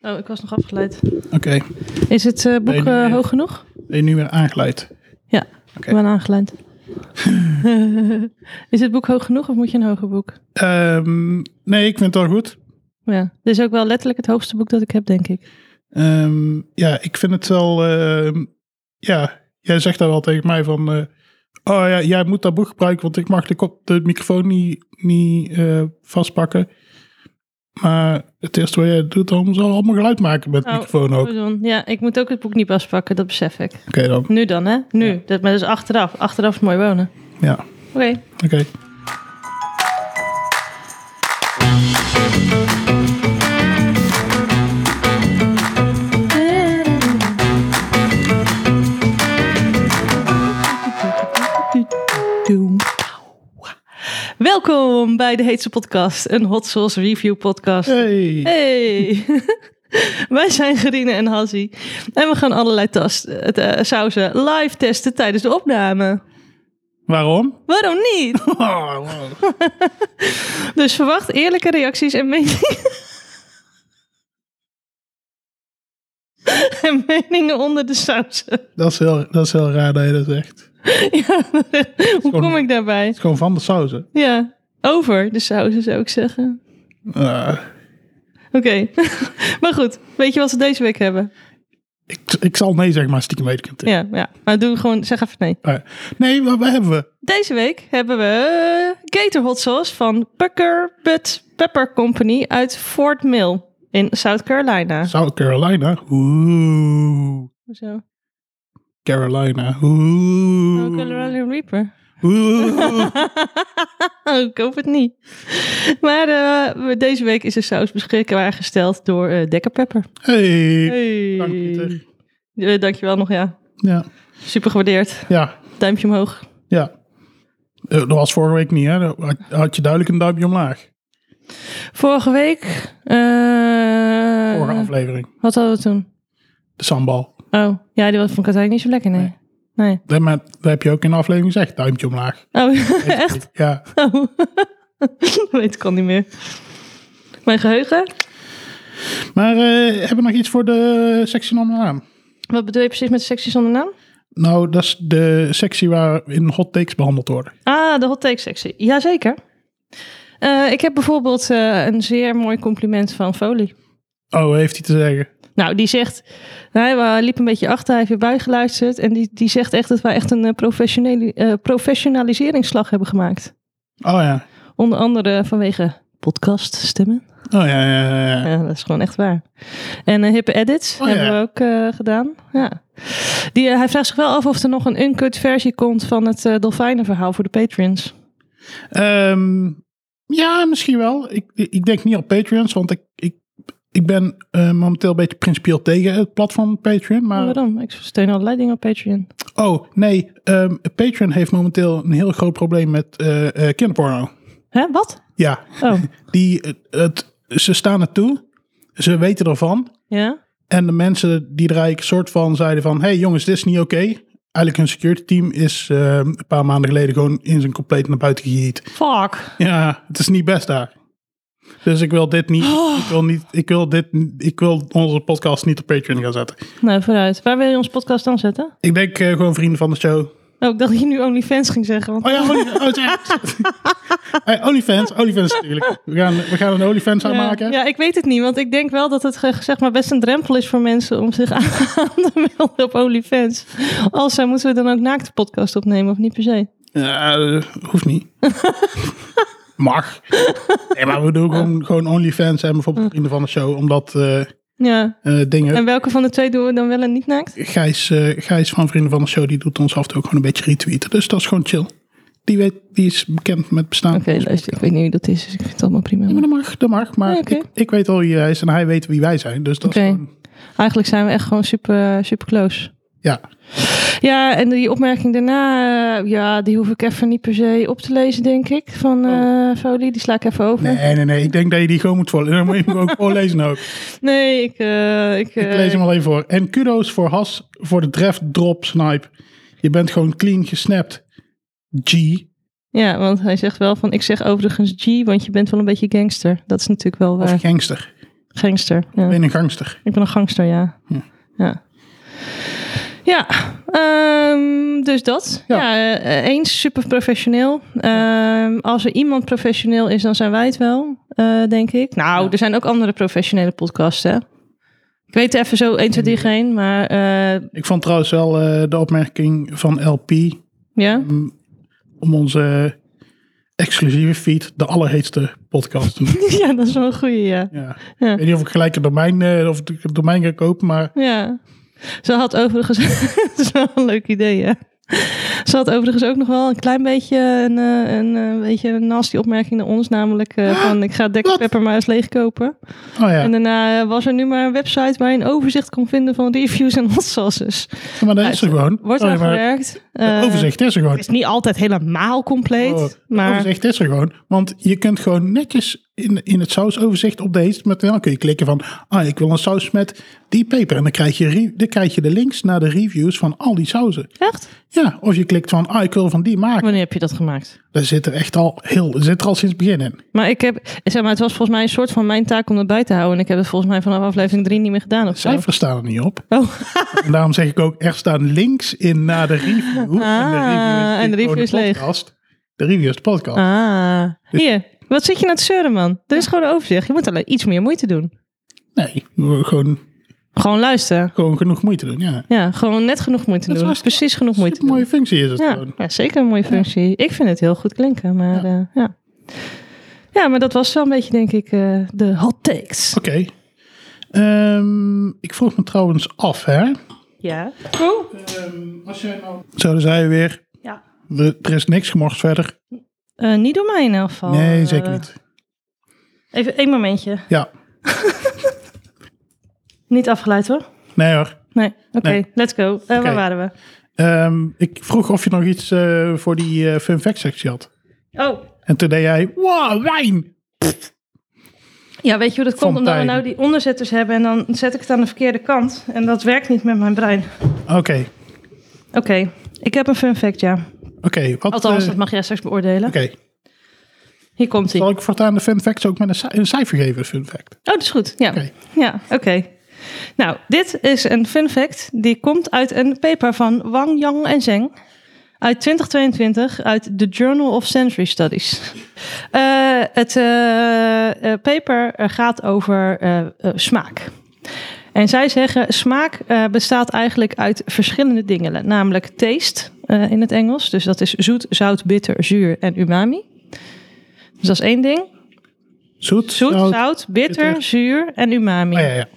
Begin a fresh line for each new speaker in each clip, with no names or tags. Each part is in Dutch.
Oh, ik was nog afgeleid.
Oké,
Is het eh, boek
Nee, nee.
eh, hoog genoeg?
ben je nu weer aangeleid?
Ja,
Oké.
ik ben aangeleid. is het boek hoog genoeg of moet je een hoger boek?
Ehm, nee, ik vind het al goed.
Ja, dit is ook wel letterlijk het hoogste boek dat ik heb, denk ik.
Ehm, ja, ik vind het wel... ehm, ja, jij zegt dat wel tegen mij van... eh, oh ja, jij moet dat boek gebruiken, want ik mag de, kop, de microfoon niet, niet eh, vastpakken. Maar het eerste wat jij doet, dan zal allemaal geluid maken met de
Oh,
microfoon ook. Oké
Pardon. Ja, ik moet ook het boek niet vastpakken, dat besef ik.
dan,
Nu dan, hè? Nu. Dat, maar dat is achteraf. Achteraf is mooi wonen.
ja,
Oké.
oké.
Welkom bij de Heetse Podcast, een Hot Sauce Review Podcast.
Hey.
Hey! Wij zijn Gerine en Hazzy. En we gaan allerlei tas, het, eh, sauzen live testen tijdens de opname.
Waarom?
Waarom niet?
Oh, wow.
Dus verwacht eerlijke reacties en meningen. en meningen onder de sausen.
dat, is heel, dat is heel raar dat je dat zegt. Het
ja, hoe
gewoon-
kom ik daarbij?
is gewoon van de sauzen.
Ja, over de sausen zou ik zeggen.
Eh,
Oké, maar goed. Weet je wat we deze week hebben?
ik, ik zal nee zeggen, maar stiekem weet ik het.
Ja, ja. maar doe gewoon, zeg even nee.
Eh, nee, wat, wat hebben we?
Deze week hebben we Gator Hot Sauce van Pucker Butt Pepper Company uit Fort Mill in South Carolina.
South Carolina. Oeh.
Zo.
Carolina. Oeh.
Oh, Colorado Reaper.
Oeh.
Oh, ik hoop het niet. Maar eh, we- deze week is de saus beschikbaar gesteld door eh Dekker Pepper.
Hey.
Hey.
Dank Pieter.
Eh, dankjewel nog, ja.
Ja.
Super gewaardeerd.
Ja.
Duimpje omhoog.
Ja. Eh, dat was vorige week niet, hè? Dat had, had je duidelijk een duimpje omlaag.
Vorige week... eh,
Vorige aflevering.
wat hadden we toen?
De sambal.
Oh, ja, die was van Katijn niet zo lekker, nee. Nee.
Dat, maar, dat heb je ook in de aflevering gezegd. Duimpje omlaag.
Oh, echt?
Ja.
Oh. Dat weet ik al niet meer. Mijn geheugen?
Maar eh, hebben we nog iets voor de sectie onder naam?
Wat bedoel je precies met sectie zonder naam?
Nou, dat is de sectie waar in hot takes behandeld worden.
Ah, de hot take sectie. Jazeker. Eh, ik heb bijvoorbeeld eh, een zeer mooi compliment van Foley.
Oh, heeft hij te zeggen.
Nou, die zegt... Hij eh, liep een beetje achter, hij heeft weer bijgeluisterd. En die, die zegt echt dat wij echt een eh, professionele, eh, professionaliseringsslag hebben gemaakt.
Oh ja.
Onder andere vanwege podcaststemmen.
Oh ja, ja, ja, ja.
Ja, dat is gewoon echt waar. En eh, hippe edits
Oh,
hebben
ja.
we ook eh, gedaan. Ja. Die, eh, hij vraagt zich wel af of er nog een uncut versie komt van het eh, dolfijnenverhaal voor de patrons.
Ehm, ja, misschien wel. Ik, ik denk niet op Patreons, want ik, ik, ik ben eh, momenteel een beetje principieel tegen het platform Patreon. Maar,
Waarom? Ik steun allerlei dingen op Patreon.
oh nee, ehm, Patreon heeft momenteel een heel groot probleem met eh, eh, kinderporno.
Hè, wat?
Ja,
Oh,
die, het, het- ze staan het toe, ze weten ervan.
ja?
En de mensen die er eigenlijk een soort van zeiden van, hey jongens, dit is niet oké. Eigenlijk hun security team is ehm, een paar maanden geleden gewoon in zijn compleet naar buiten gejiet.
Fuck.
Ja, het is niet best daar. Dus ik wil dit niet.
Oh.
Ik wil niet. Ik wil dit. Ik wil onze podcast niet op Patreon gaan zetten.
Nou, vooruit. Waar wil je ons podcast dan zetten?
Ik denk eh, gewoon vrienden van de show.
Oh, ik dacht dat je nu OnlyFans ging zeggen. Want...
Oh ja, Only- oh, het is echt. Hey, OnlyFans. OnlyFans natuurlijk. We gaan, we gaan een OnlyFans aanmaken.
eh, Ja, ik weet het niet, want ik denk wel dat het eh, zeg maar best een drempel is voor mensen om zich aan aan te melden op OnlyFans. Also, moeten we dan ook naakte podcast opnemen of niet per se?
Ja, eh, hoeft niet. Mag. Nee, maar we doen gewoon, gewoon OnlyFans en
Mm.
bijvoorbeeld vrienden van de show. Omdat eh, eh,
Ja,
dingen.
En welke van de twee doen we dan wel en niet naakt?
Gijs, eh, Gijs van Vrienden van de Show, die doet ons af en toe ook gewoon een beetje retweeten. Dus dat is gewoon chill. Die, weet, die is bekend met bestaan.
Oké, luister, ik weet niet wie dat is, dus ik vind het allemaal prima.
Maar dat mag, dat mag. Maar
Ja, oké.
ik, ik weet al wie hij is en hij weet wie wij zijn. Dus dat
Oké.
is gewoon,
Eigenlijk zijn we echt gewoon super, eh, super close.
ja.
Ja, en die opmerking daarna, eh, ja, die hoef ik even niet per se op te lezen, denk ik, van eh Foley. Die sla ik even over. Nee,
Nee, nee, nee. Ik denk dat je die gewoon moet volgen. Dan moet je hem ook voorlezen ook.
ik, eh, ik,
Ik
eh,
lees hem alleen voor. En kudo's voor Has voor de tref drop snipe. Je bent gewoon clean gesnapt. G.
Ja, want hij zegt wel van, ik zeg overigens G, want je bent wel een beetje gangster. Dat is natuurlijk wel
Of
waar.
gangster.
Gangster. Ja.
Ben je een gangster?
Ik ben een gangster, ja.
Hm.
Ja. Ja, ehm, dus dat.
Ja.
Ja, eh, eh, eens super professioneel. Ehm, als er iemand professioneel is, dan zijn wij het wel, eh, denk ik. Nou,
Ja.
er zijn ook andere professionele podcasts, hè. Ik weet even zo 1, 2, 3 geen, maar eh,
Ik vond trouwens wel eh, de opmerking van LP
ja.
mm, om onze exclusieve feed de allerheetste podcast te noemen.
ja, dat is wel een goeie, ja.
Ja.
Ja.
Ik weet niet of ik gelijk een domein, eh, of ik een domein ga kopen, maar
Ja. Ze had overigens, dat is wel een leuk idee, hè. Ze had overigens ook nog wel een klein beetje een, eh, een, eh, beetje een nasty opmerking naar ons. Namelijk eh, van, ik ga Dr.
Wat?
Pepper maar eens leegkopen.
oh ja.
En daarna eh, was er nu maar een website waar je een overzicht kon vinden van reviews en hot sauces.
Ja, maar dat is er gewoon.
eh, nou, Wordt
Sorry,
aan
maar
gewerkt.
het
Eh,
overzicht is er gewoon.
Het is niet altijd helemaal compleet,
Oh, het
maar...
Overzicht is er gewoon. Want je kunt gewoon netjes in, in het sausoverzicht op deze. Met, dan kun je klikken van, ah, ik wil een saus met die peper. En dan krijg, je, re- dan krijg je de links naar de reviews van al die sauzen.
Echt?
Ja, of je klikt van, ah, ik wil van die maken.
Wanneer heb je dat gemaakt?
Daar zit er echt al heel, zit er al sinds het begin in.
Maar ik heb, zeg maar, het was volgens mij een soort van mijn taak om dat bij te houden. En ik heb het volgens mij vanaf aflevering 3 niet meer gedaan of zo.
Cijfers staan er niet op.
Oh.
En daarom zeg ik ook, er staan links in naar de review.
Ah, en de review is
gewoon
leeg.
podcast. De review is de podcast.
Ah,
Dus-
hier. Wat zit je nou te zeuren, man? Er is gewoon een overzicht. Je moet alleen iets meer moeite doen.
Nee, gewoon,
Gewoon luisteren.
gewoon genoeg moeite doen, ja.
Ja, gewoon net genoeg moeite
Dat is
doen.
hartstikke-
Precies genoeg moeite
Een
doen.
mooie functie is het
Ja,
gewoon.
ja, zeker een mooie functie. Ik vind het heel goed klinken, maar ja. ja. Ja, maar dat was wel een beetje, denk ik, eh, de hot takes.
Oké. Ehm, ik vroeg me trouwens af, hè.
Ja.
Oh. als jij nou... Zo, zei je weer.
Ja.
We- er is niks gemorst verder.
Eh, niet door mij in elk geval.
nee,
Eh,
zeker niet.
Even één momentje.
Ja.
Niet afgeleid hoor.
Nee hoor.
Nee, oké.
Nee.
Let's go. Eh,
Oké.
Waar waren we?
Ehm, ik vroeg of je nog iets eh, voor die eh, fun fact sectie had.
Oh,
En toen deed jij, wow, wijn!
Ja, weet je hoe dat komt? Omdat we
Fontein.
nou die onderzetters hebben en dan zet ik het aan de verkeerde kant. En dat werkt niet met mijn brein.
Oké,
Oké, ik heb een fun fact, ja.
oké. wat,
Althans,
eh,
dat mag jij straks beoordelen.
Oké,
Hier komt hij.
zal ik voortaan de fun facts ook met een, ci- een cijfer geven, fun fact?
Oh, dat is goed. Ja,
Oké.
ja oké. Nou, dit is een fun fact. Die komt uit een paper van Wang Yang en Zeng. Uit 2022, uit The Journal of Sensory Studies. Eh, het eh, eh, paper eh, gaat over eh, eh, smaak. En zij zeggen, smaak eh, bestaat eigenlijk uit verschillende dingen. Namelijk taste eh, in het Engels. Dus dat is zoet, zout, bitter, zuur en umami. Dus dat is één ding.
Zoet,
Zoet,
zout.
zout, bitter,
bitter.
zuur en umami.
Oh, ja, ja.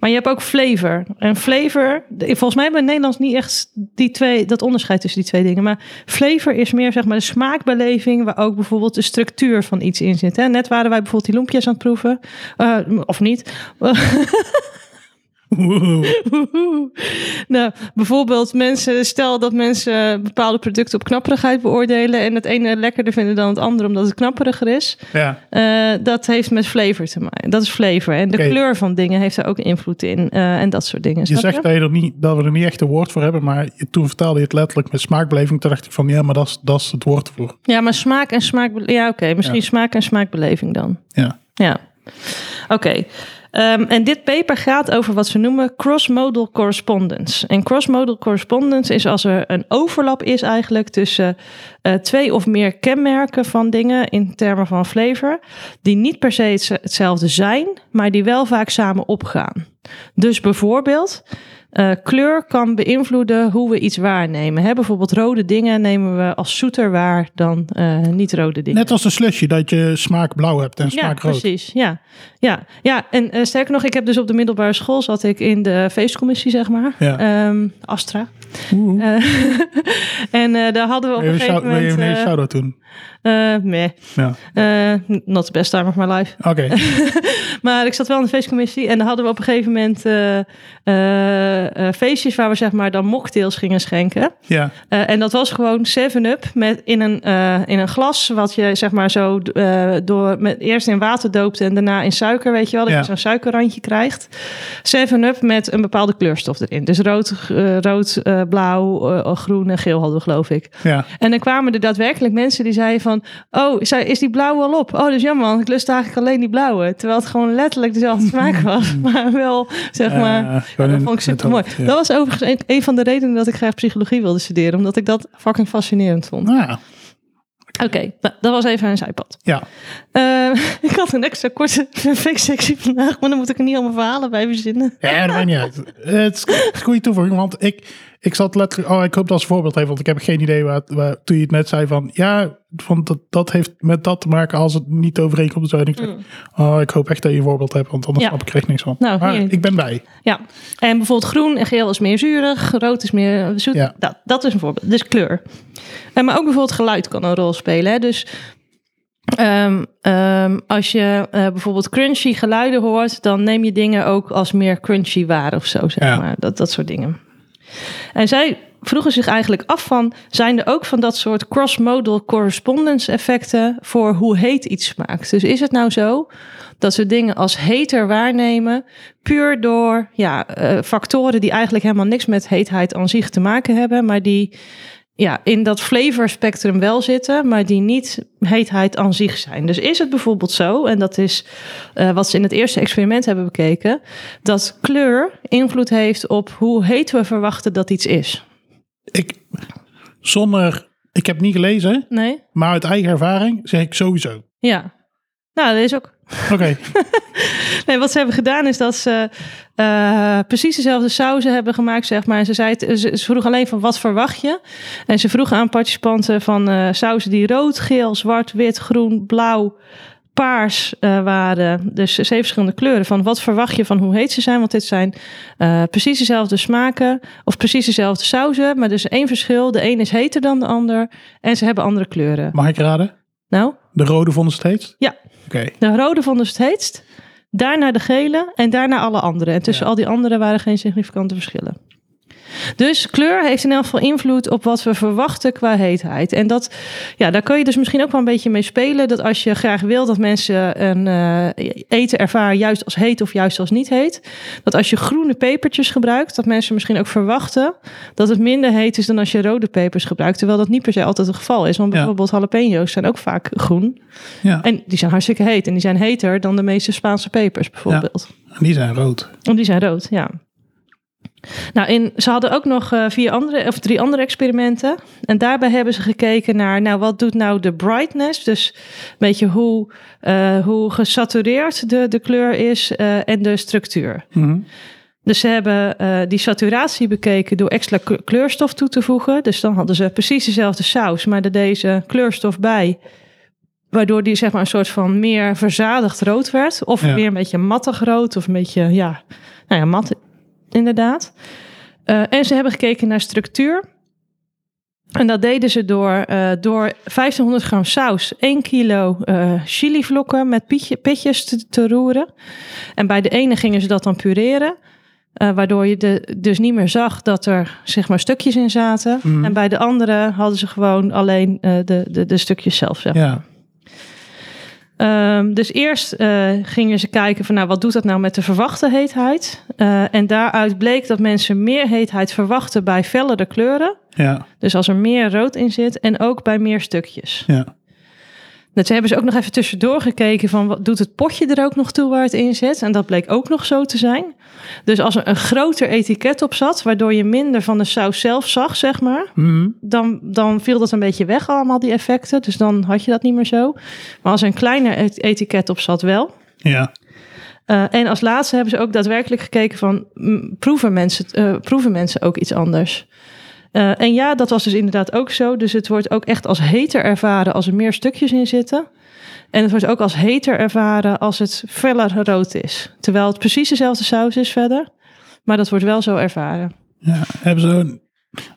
Maar je hebt ook flavor. En flavor, de- volgens mij hebben we in Nederlands niet echt die twee, dat onderscheid tussen die twee dingen. Maar flavor is meer zeg maar de smaakbeleving, waar ook bijvoorbeeld de structuur van iets in zit. Hè? Net waren wij bijvoorbeeld die loempjes aan het proeven. Eh, of niet. nou, bijvoorbeeld mensen, stel dat mensen bepaalde producten op knapperigheid beoordelen. En het ene lekkerder vinden dan het andere omdat het knapperiger is.
ja.
Eh, dat heeft met flavor te maken. Dat is flavor. En de
Oké.
kleur van dingen heeft daar ook invloed in. eh, en dat soort dingen.
Je
snap
zegt dat, je er niet, dat we er niet echt een woord voor hebben, maar je, toen vertaalde je het letterlijk met smaakbeleving. Toen dacht ik van, ja, maar dat is- dat is het woord voor.
Ja, maar smaak en smaak. Ja, oké. misschien
Ja.
smaak en smaakbeleving dan.
Ja.
Ja. Oké. Ehm, en dit paper gaat over wat ze noemen cross-modal correspondence. En cross-modal correspondence is als er een overlap is eigenlijk tussen eh, twee of meer kenmerken van dingen in termen van flavor, die niet per se hetz- hetzelfde zijn, maar die wel vaak samen opgaan. Dus bijvoorbeeld, eh, kleur kan beïnvloeden hoe we iets waarnemen. Hè? Bijvoorbeeld rode dingen nemen we als zoeter waar dan eh, niet-rode dingen.
Net als de slusje, dat je smaak blauw hebt en
Ja,
smaak rood.
precies. Ja, ja. ja. en eh, sterker nog, ik heb dus op de middelbare school zat ik in de feestcommissie, zeg maar.
Ja.
Ehm, Astra.
Oeh.
Eh, en eh, daar hadden we op
Wil je
een
een
gegeven
shout- wil je
moment...
een hele
eh,
shout-out doen?
eh, meh.
Ja.
Eh, not the best time of my life.
Oké.
Maar ik zat wel in de feestcommissie en daar hadden we op een gegeven moment eh, eh, eh, feestjes waar we zeg maar dan mocktails gingen schenken.
Ja,
Eh, en dat was gewoon 7-up met in een, eh, in een glas, wat je zeg maar zo eh, door, met, eerst in water doopt en daarna in suiker, weet je wel, dat
Ja.
je zo'n suikerrandje krijgt. 7-up met een bepaalde kleurstof erin. Dus rood, eh, rood eh, blauw, eh, groen en geel hadden we geloof ik.
ja.
En dan kwamen er daadwerkelijk mensen die zeiden van... Oh, zei- is die blauwe al op? Oh, dus jammer, want ik lust eigenlijk alleen die blauwe. Terwijl het gewoon letterlijk dezelfde smaak was. Maar wel, zeg maar...
Eh, gewoon
dat
in-
vond ik
met
super mooi.
hoofd, ja.
Dat was overigens een, een van de redenen dat ik graag psychologie wilde studeren. Omdat ik dat fucking fascinerend vond.
Nou ja,
Oké, nou, dat was even een zijpad.
ja.
Eh, ik had een extra korte perfect-sectie vandaag, maar dan moet ik er niet allemaal verhalen bij verzinnen.
Ja, dat maakt niet uit. Het is, het is een goede toevoeging, want ik, ik zat letterlijk... Oh, ik hoop dat ze een voorbeeld heeft, want ik heb geen idee waar, waar... Toen je het net zei van... Ja, want dat, dat heeft met dat te maken als het niet overeenkomt. Zo. En ik dacht, oh, ik hoop echt dat je een voorbeeld hebt, want anders
Mm. Ja.
snap ik er echt niks van.
Nou,
maar
hier.
ik ben bij.
Ja, en bijvoorbeeld groen en geel is meer zuurig, rood is meer zoet.
Ja.
Dat, dat is een voorbeeld, dus kleur. En maar ook bijvoorbeeld geluid kan een rol spelen. Hè? Dus ehm, ehm, als je eh, bijvoorbeeld crunchy geluiden hoort, dan neem je dingen ook als meer crunchy waar of zo, zeg
Ja.
maar. Dat, dat soort dingen. En zij vroegen zich eigenlijk af van, zijn er ook van dat soort cross-modal correspondence effecten voor hoe heet iets smaakt? Dus is het nou zo dat we dingen als heter waarnemen, puur door ja, eh, factoren die eigenlijk helemaal niks met heetheid aan zich te maken hebben, maar die ja, in dat flavorspectrum wel zitten, maar die niet heetheid aan zich zijn. Dus is het bijvoorbeeld zo, en dat is eh, wat ze in het eerste experiment hebben bekeken, dat kleur invloed heeft op hoe heet we verwachten dat iets is.
Ik, zonder... Ik heb niet gelezen,
Nee?
maar uit eigen ervaring zeg ik sowieso.
Ja. Nou, dat is ook.
Oké,
Nee, wat ze hebben gedaan is dat ze eh, precies dezelfde sauzen hebben gemaakt, zeg maar. En ze, zei het- ze, ze vroeg alleen van wat verwacht je? En ze vroegen aan participanten van eh sauzen die rood, geel, zwart, wit, groen, blauw, paars eh, waren. Dus zeven verschillende kleuren. Van wat verwacht je van hoe heet ze zijn? Want dit zijn eh, precies dezelfde smaken of precies dezelfde sauzen. Maar er is één verschil. De een is heter dan de ander. En ze hebben andere kleuren.
mag ik raden?
Nou,
De rode vonden ze het heetst?
Ja.
Oké,
de rode vonden ze het heetst. Daarna de gele en daarna alle andere. En tussen
Ja.
al die anderen waren geen significante verschillen. Dus kleur heeft in elk geval invloed op wat we verwachten qua heetheid. En dat, ja, daar kun je dus misschien ook wel een beetje mee spelen. Dat als je graag wil dat mensen een eh, eten ervaren juist als heet of juist als niet heet. Dat als je groene pepertjes gebruikt, dat mensen misschien ook verwachten dat het minder heet is dan als je rode pepers gebruikt. Terwijl dat niet per se altijd het geval is. Want
Ja.
bijvoorbeeld jalapeno's zijn ook vaak groen.
ja.
En die zijn hartstikke heet. En die zijn heter dan de meeste Spaanse pepers bijvoorbeeld.
En die zijn rood.
Want die zijn rood, ja. Nou, in, ze hadden ook nog eh, vier andere, of drie andere experimenten. En daarbij hebben ze gekeken naar, nou, wat doet nou de brightness? Dus een beetje hoe, eh, hoe gesatureerd de, de kleur is eh, en de structuur.
Mhm.
Dus ze hebben eh, die saturatie bekeken door extra k- kleurstof toe te voegen. Dus dan hadden ze precies dezelfde saus, maar er deze kleurstof bij. Waardoor die zeg maar een soort van meer verzadigd rood werd. Of
Ja.
weer een beetje mattig rood. Of een beetje, ja, nou ja, mat inderdaad. Eh, en ze hebben gekeken naar structuur. En dat deden ze door, eh, door 1500 gram saus, 1 kilo eh chilivlokken met pietje, pitjes te, te roeren. En bij de ene gingen ze dat dan pureren. eh, waardoor je de, dus niet meer zag dat er zeg maar, stukjes in zaten.
Mhm.
En bij de andere hadden ze gewoon alleen eh, de, de, de stukjes zelf. Zeg
Ja,
Ehm, dus eerst eh, gingen ze kijken van nou, wat doet dat nou met de verwachte heetheid? Eh, en daaruit bleek dat mensen meer heetheid verwachten bij fellere kleuren.
ja,
Dus als er meer rood in zit en ook bij meer stukjes.
ja.
Dat hebben ze ook nog even tussendoor gekeken van wat doet het potje er ook nog toe waar het in zit. En dat bleek ook nog zo te zijn. Dus als er een groter etiket op zat, waardoor je minder van de saus zelf zag, zeg maar
Mhm.
dan, dan viel dat een beetje weg allemaal, die effecten. Dus dan had je dat niet meer zo. Maar als er een kleiner et- etiket op zat, wel.
Ja,
Eh, en als laatste hebben ze ook daadwerkelijk gekeken van... mm, proeven mensen, het- eh, proeven mensen ook iets anders? Eh, en ja, dat was dus inderdaad ook zo. Dus het wordt ook echt als heter ervaren als er meer stukjes in zitten. En het wordt ook als heter ervaren als het feller rood is. Terwijl het precies dezelfde saus is verder. Maar dat wordt wel zo ervaren.
ja. Hebben ze een,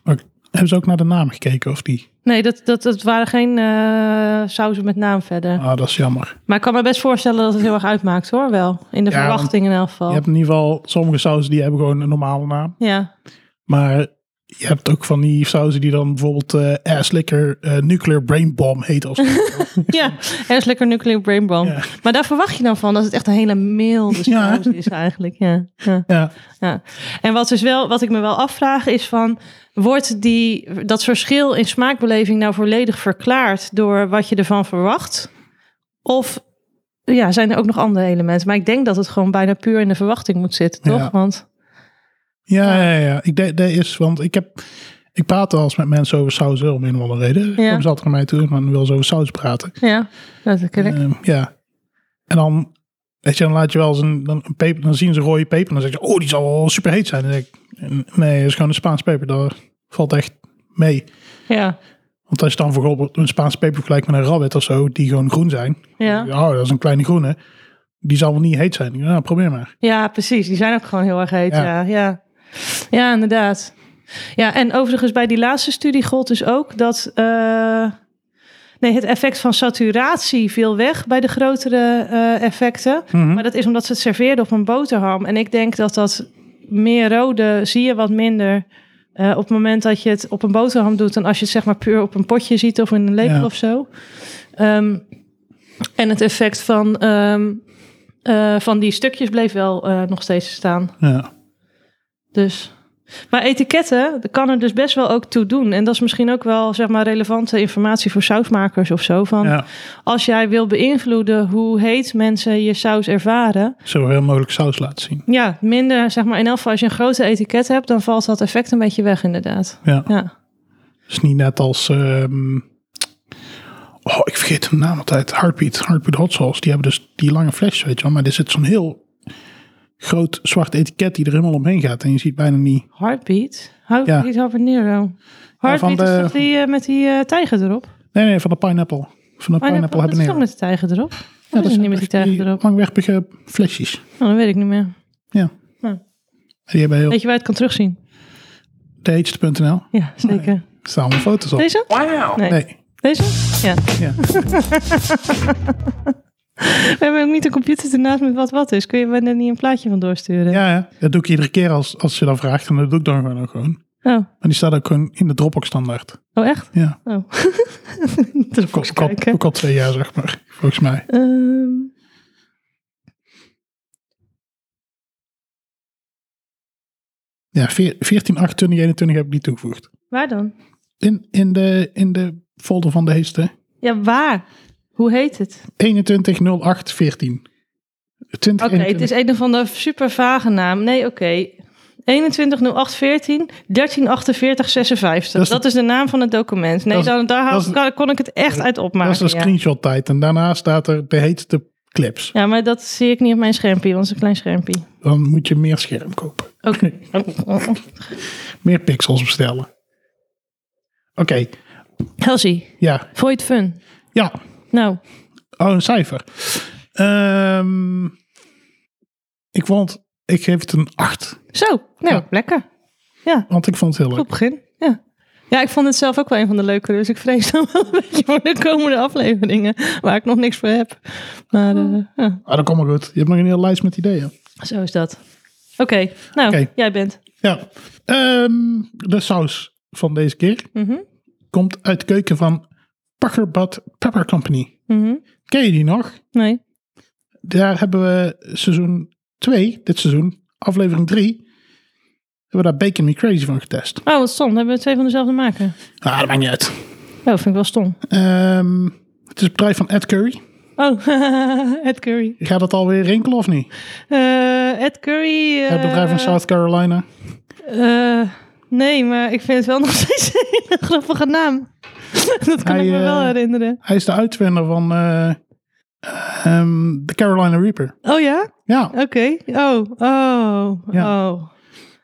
maar, eh, Hebben ze ook naar de naam gekeken of die?
Nee, dat, dat, dat waren geen eh sauzen met naam verder.
Ah, dat is jammer.
Maar ik kan me best voorstellen dat het heel erg uitmaakt hoor, wel. In de
Ja,
verwachting in elk geval.
Je hebt in ieder geval sommige sauzen die hebben gewoon een normale naam.
Ja,
Maar je hebt ook van die sauzen die dan bijvoorbeeld eh ass liquor eh, nuclear brain bomb heet. Of, zo.
ja. er is lekker nuclear brain bomb.
Ja.
Maar daar verwacht je dan van dat het echt een hele milde
Ja.
saus is eigenlijk. Ja, ja.
ja.
Ja. En wat, dus wel, wat ik me wel afvraag is van... wordt die, dat verschil in smaakbeleving nou volledig verklaard... door wat je ervan verwacht? Of ja, zijn er ook nog andere elementen? Maar ik denk dat het gewoon bijna puur in de verwachting moet zitten, toch?
Ja.
Want
Ja, ja, ja. Ik denk dat is, want ik heb. Ik praat wel eens met mensen over saus om een of andere reden.
Ja.
Om ze altijd naar mij toe, maar nu wil ze over saus praten.
ja, dat ken ik.
Ehm, ja. En dan, weet je, dan laat je wel eens een, dan een peper, dan zien ze rode peper. En dan zeg je, oh, die zal wel super heet zijn. En dan denk ik, nee, dat is gewoon een Spaans peper. Dat valt echt mee.
Ja,
Want als je dan bijvoorbeeld een Spaans peper vergelijkt met een rabbit of zo, die gewoon groen zijn.
ja.
Oh, dat is een kleine groene. Die zal wel niet heet zijn. Ik denk, Nou, probeer maar.
ja, precies. Die zijn ook gewoon heel erg heet. Ja,
Ja.
ja, ja. inderdaad. Ja, en overigens bij die laatste studie gold dus ook dat... eh, nee, het effect van saturatie viel weg bij de grotere eh, effecten...
Hm?
Maar dat is omdat ze het serveerden op een boterham. En ik denk dat dat meer rode zie je wat minder eh, op het moment dat je het op een boterham doet... dan als je het zeg maar puur op een potje ziet of in een lepel
Ja.
of zo. Ehm, en het effect van, ehm, eh, van die stukjes bleef wel eh, nog steeds staan.
Ja.
Dus. Maar etiketten dat kan er dus best wel ook toe doen. En dat is misschien ook wel zeg maar, relevante informatie voor sausmakers of zo. Van,
ja.
Als jij wil beïnvloeden hoe heet mensen je saus ervaren...
Zoveel mogelijk saus laten zien.
Ja, minder, zeg maar, in elk geval als je een grote etiket hebt, dan valt dat effect een beetje weg inderdaad.
Ja.
Ja,
is niet net als. ehm, oh, ik vergeet de naam altijd. Heartbeat, Heartbeat Hot Sauce. Die hebben dus die lange flesjes, weet je wel. Maar er zit zo'n heel groot zwart etiket die er helemaal omheen gaat. En je ziet bijna niet.
heartbeat. Heartbeat habanero. Heartbeat
van
is
de-
toch die eh, met die eh, tijger erop?
Nee, nee, van de pineapple. Van de
Pineapple,
pineapple,
dat is toch
habanero.
met de tijger erop?
Ja,
dat is
zijn
niet met die
echt
tijger erop.
Langwerpige flesjes.
Oh, dat weet ik niet meer.
Ja.
Ja.
Die hebben heel.
Weet je waar je het kan terugzien?
Deetst.nl.
Ja, zeker.
Er staan allemaal foto's op.
Deze? Nee.
Nee.
Deze? Ja.
Ja.
We hebben ook niet een computer ernaast met wat wat is. Kun je me daar niet een plaatje van doorsturen?
Ja, ja, dat doe ik iedere keer als, als je dat vraagt. En dat doe ik dan gewoon ook gewoon.
Oh,
Maar die staat ook gewoon in de Dropbox standaard.
oh echt?
Ja.
Oh. Terug
Ook al-
eens
ook al-
kijken.
ook al twee jaar, zeg maar. Volgens mij.
Ehm.
Ja, 14, 8, 2021 heb ik die toegevoegd.
waar dan?
In, in, de, in de folder van de heetste.
Ja, waar? Hoe heet het?
21, 08, 14. 20,
Oké, het is een of andere super vage naam. Nee, oké. 210814 134856.
Dat
Dat,
is de-
is de naam van het document. Nee,
Dat is-
dan, daar
dat
haal-
is-
kan- kon ik het echt uit
dat
opmaken.
is de
ja.
screenshot tijd. En daarna staat er de heetste clips.
Ja, maar dat zie ik niet op mijn schermpje, want het is een klein schermpje.
Dan moet je meer scherm kopen.
Oké.
Meer pixels bestellen. Oké,
Helsie,
ja.
vond je het fun?
Ja,
Nou,
oh, een cijfer. Ehm, ik vond, ik geef het een 8.
zo. Nou,
Ja.
lekker. Ja,
Want ik vond het heel
goed
leuk.
begin. Ja. Ja, ik vond het zelf ook wel een van de leukere, dus ik vrees dan wel een beetje voor de komende afleveringen, waar ik nog niks voor heb. Maar eh, ja.
Ah, dat komt maar goed. Je hebt nog een hele lijst met ideeën.
Zo is dat. Oké, nou,
Oké.
jij bent.
Ja. Ehm, de saus van deze keer
Mhm,
komt uit de keuken van Packerbad Pepper Company.
mhm.
Ken je die nog?
Nee.
Daar hebben we seizoen 2, dit seizoen, aflevering 3, hebben we daar Bacon Me Crazy van getest.
Oh, wat stom. Dan hebben we twee van dezelfde maken.
Ah, dat maakt niet uit.
Oh, vind ik wel stom.
Ehm, het is het bedrijf van Ed Curry.
Oh, Ed Curry.
Gaat dat alweer rinkelen of niet?
Eh, Ed Curry... eh,
het bedrijf van South Carolina.
eh, nee, maar ik vind het wel nog steeds een hele grappige naam. dat kan
Hij,
ik me wel
eh,
herinneren.
Hij is de uitvinder van eh, ehm, de Carolina Reaper.
Oh ja?
Ja,
Oké. Oh, oh,
Ja.
oh,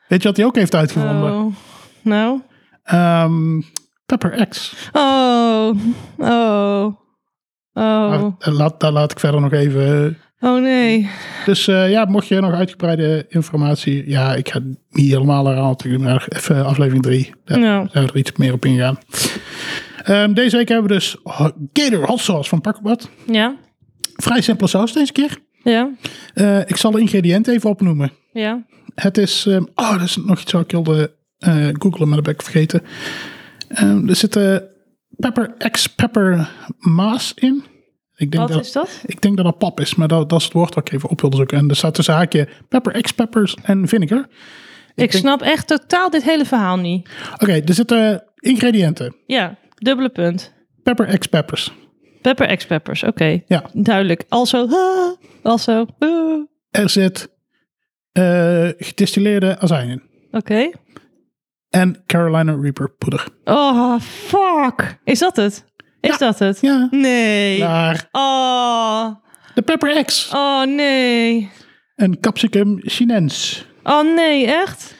weet je wat hij ook heeft uitgevonden?
oh. Nou.
Ehm, Pepper X.
Oh, oh, oh.
Ah, Maar, eh, laat, daar laat ik verder nog even. eh,
Oh nee.
Dus eh, ja, mocht je nog uitgebreide informatie... Ja, ik ga het niet helemaal herhalen natuurlijk, maar even eh, aflevering 3. Daar
Nou,
zijn we er iets meer op ingaan. Ehm, deze week hebben we dus hot- Gator Hot Sauce van Pakkenbad.
ja,
Vrij simpele saus deze keer.
ja,
Eh, ik zal de ingrediënten even opnoemen.
ja.
Het is. ehm, oh, dat is nog iets wat ik wilde eh googlen, maar dat ben ik vergeten. Ehm, er zitten pepper ex pepper maas in. Ik denk,
Wat
dat,
is dat?
ik denk dat dat pap is, maar dat, dat is het woord dat ik even op wilde zoeken. En er staat tussen haakje pepper ex peppers en vinegar.
Ik snap echt totaal dit hele verhaal niet.
Oké, er zitten ingrediënten.
Ja, dubbele punt.
Pepper ex peppers.
Pepper ex peppers, oké.
Ja.
Duidelijk. Also, ah, also, ah. oké.
Er zit eh, gedistilleerde azijn in. En Carolina Reaper poeder.
Oh, fuck. Is dat het? Is
Ja.
dat het?
Ja,
Nee.
daar.
Oh,
De pepper ex.
oh nee.
En capsicum chinens.
Oh nee, echt?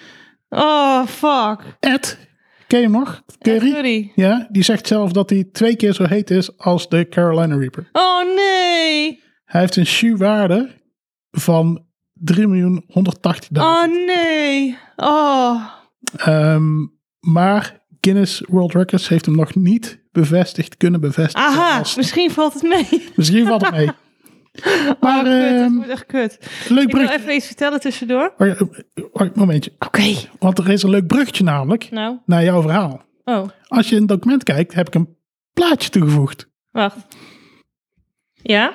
Oh, fuck.
Ed, ken je hem nog? Curry?
Sorry.
Ja, die zegt zelf dat hij twee keer zo heet is als de Carolina Reaper.
Oh nee.
Hij heeft een shoe-waarde van 3.180.000.
Oh nee. Oh.
Ehm, maar Guinness World Records heeft hem nog niet bevestigd, kunnen bevestigen.
Aha,
als-
misschien valt het mee.
misschien valt het mee. Maar
oh, kut, dat
ehm,
wordt echt kut. Ik
leuk
wil
bruggetje.
even iets vertellen tussendoor. Oké.
Wacht, oh, wacht, momentje. Want er is een leuk bruggetje namelijk
Nou,
naar jouw verhaal.
oh,
Als je in het document kijkt, heb ik een plaatje toegevoegd.
wacht. Ja?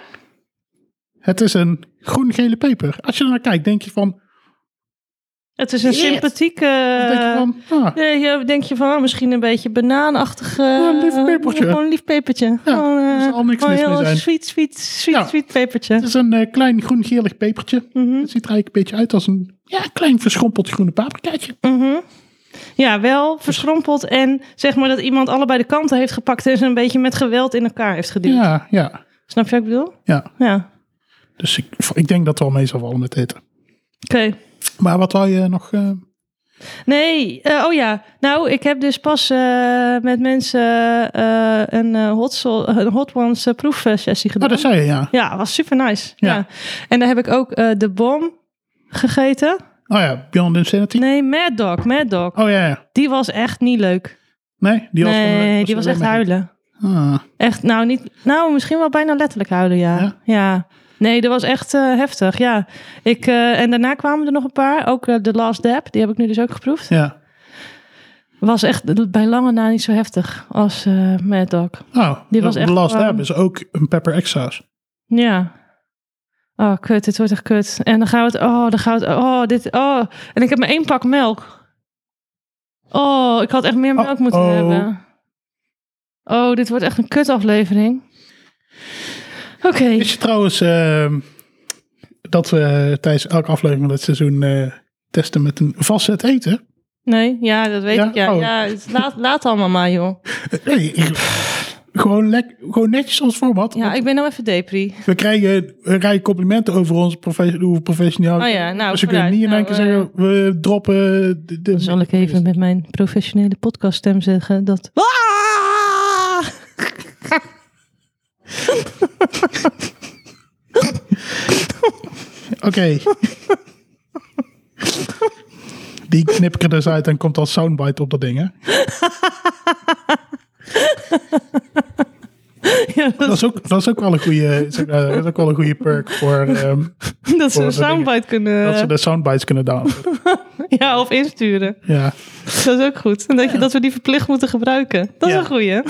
Het is een groen-gele peper. Als je er naar kijkt, denk je van...
Het is een
Yes.
sympathieke...
denk
Eh,
je van ah,
Nee, je- denk je van oh, misschien een beetje banaanachtig. eh,
een lief pepertje.
Gewoon een lief pepertje.
Ja,
gewoon, eh,
er zal niks
gewoon
mis
heel
mee zijn.
sweet, sweet, sweet,
Ja.
sweet pepertje.
het is een eh, klein groen-geelig pepertje.
Mhm,
Het ziet er eigenlijk een beetje uit als een ja, klein verschrompeld groene paprikaatje.
mhm. Ja, wel verschrompeld en zeg maar dat iemand allebei de kanten heeft gepakt en ze een beetje met geweld in elkaar heeft geduwd.
Ja, ja,
Snap je wat ik bedoel?
ja.
Ja, oké.
Dus ik, ik denk dat het wel mee zal vallen met eten. Maar wat wou je nog... eh,
Nee, eh, oh ja. Nou, ik heb dus pas eh, met mensen eh, een, eh, hot so- een Hot Ones eh, proefsessie gedaan.
oh, dat zei je, ja.
Ja, was super nice. Ja.
Ja.
En daar heb ik ook eh, de bom gegeten.
Oh ja, Beyond Insanity.
Nee, Mad Dog, Mad Dog.
Oh ja, ja.
Die was echt niet leuk.
Nee, die was,
nee,
gewoon-
die was echt
alleen
huilen.
maar- Ah,
Echt, nou, niet, nou, misschien wel bijna letterlijk huilen, ja. Ja.
Ja?
Nee, dat was echt eh, heftig, ja. Ik, eh, en daarna kwamen er nog een paar. Ook eh, The Last Dab, die heb ik nu dus ook geproefd.
ja.
Was echt bij lange na niet zo heftig als eh Mad Dog.
Oh,
Die was
de
echt
Last
gewoon-
Lab is ook een pepper X saus.
Ja. Oh, kut, dit wordt echt kut. En dan gaan we het, oh, dan gaan we het, oh, dit, oh. En ik heb maar één pak melk. Oh, ik had echt meer melk moeten
Uh-oh.
hebben. Oh, dit wordt echt een kut aflevering. Oké.
Is je trouwens ehm, dat we tijdens elke aflevering van dit seizoen eh, testen met een vastzet eten?
Nee, ja, dat weet
Ja?
ik. Ja,
Oh.
ja het- laat, laat allemaal maar, joh.
Nee, ik- gewoon, lek, gewoon netjes als format.
Ja, ik ben nou even depri.
We krijgen, we krijgen complimenten over ons profe hoe professioneel.
Oh ja, nou,
dus we kunnen
vooruit.
niet in één
Nou,
keer
eh,
zeggen, we droppen... De, de-
Zal ik even met mijn professionele podcaststem zeggen dat... Ah!
Oké. Die knip ik er dus uit en komt als soundbite op dat ding, hè?
Ja, dat,
Dat is ook, dat is ook wel een goede, zeg maar, dat is ook wel een goede perk voor ehm,
dat ze een
voor dat ding.
soundbite
dat ze
kunnen...
de soundbites kunnen downloaden.
Ja, of insturen.
Ja.
Dat is ook goed. En dat, je, dat we die verplicht moeten gebruiken. Dat
Ja.
is een goeie.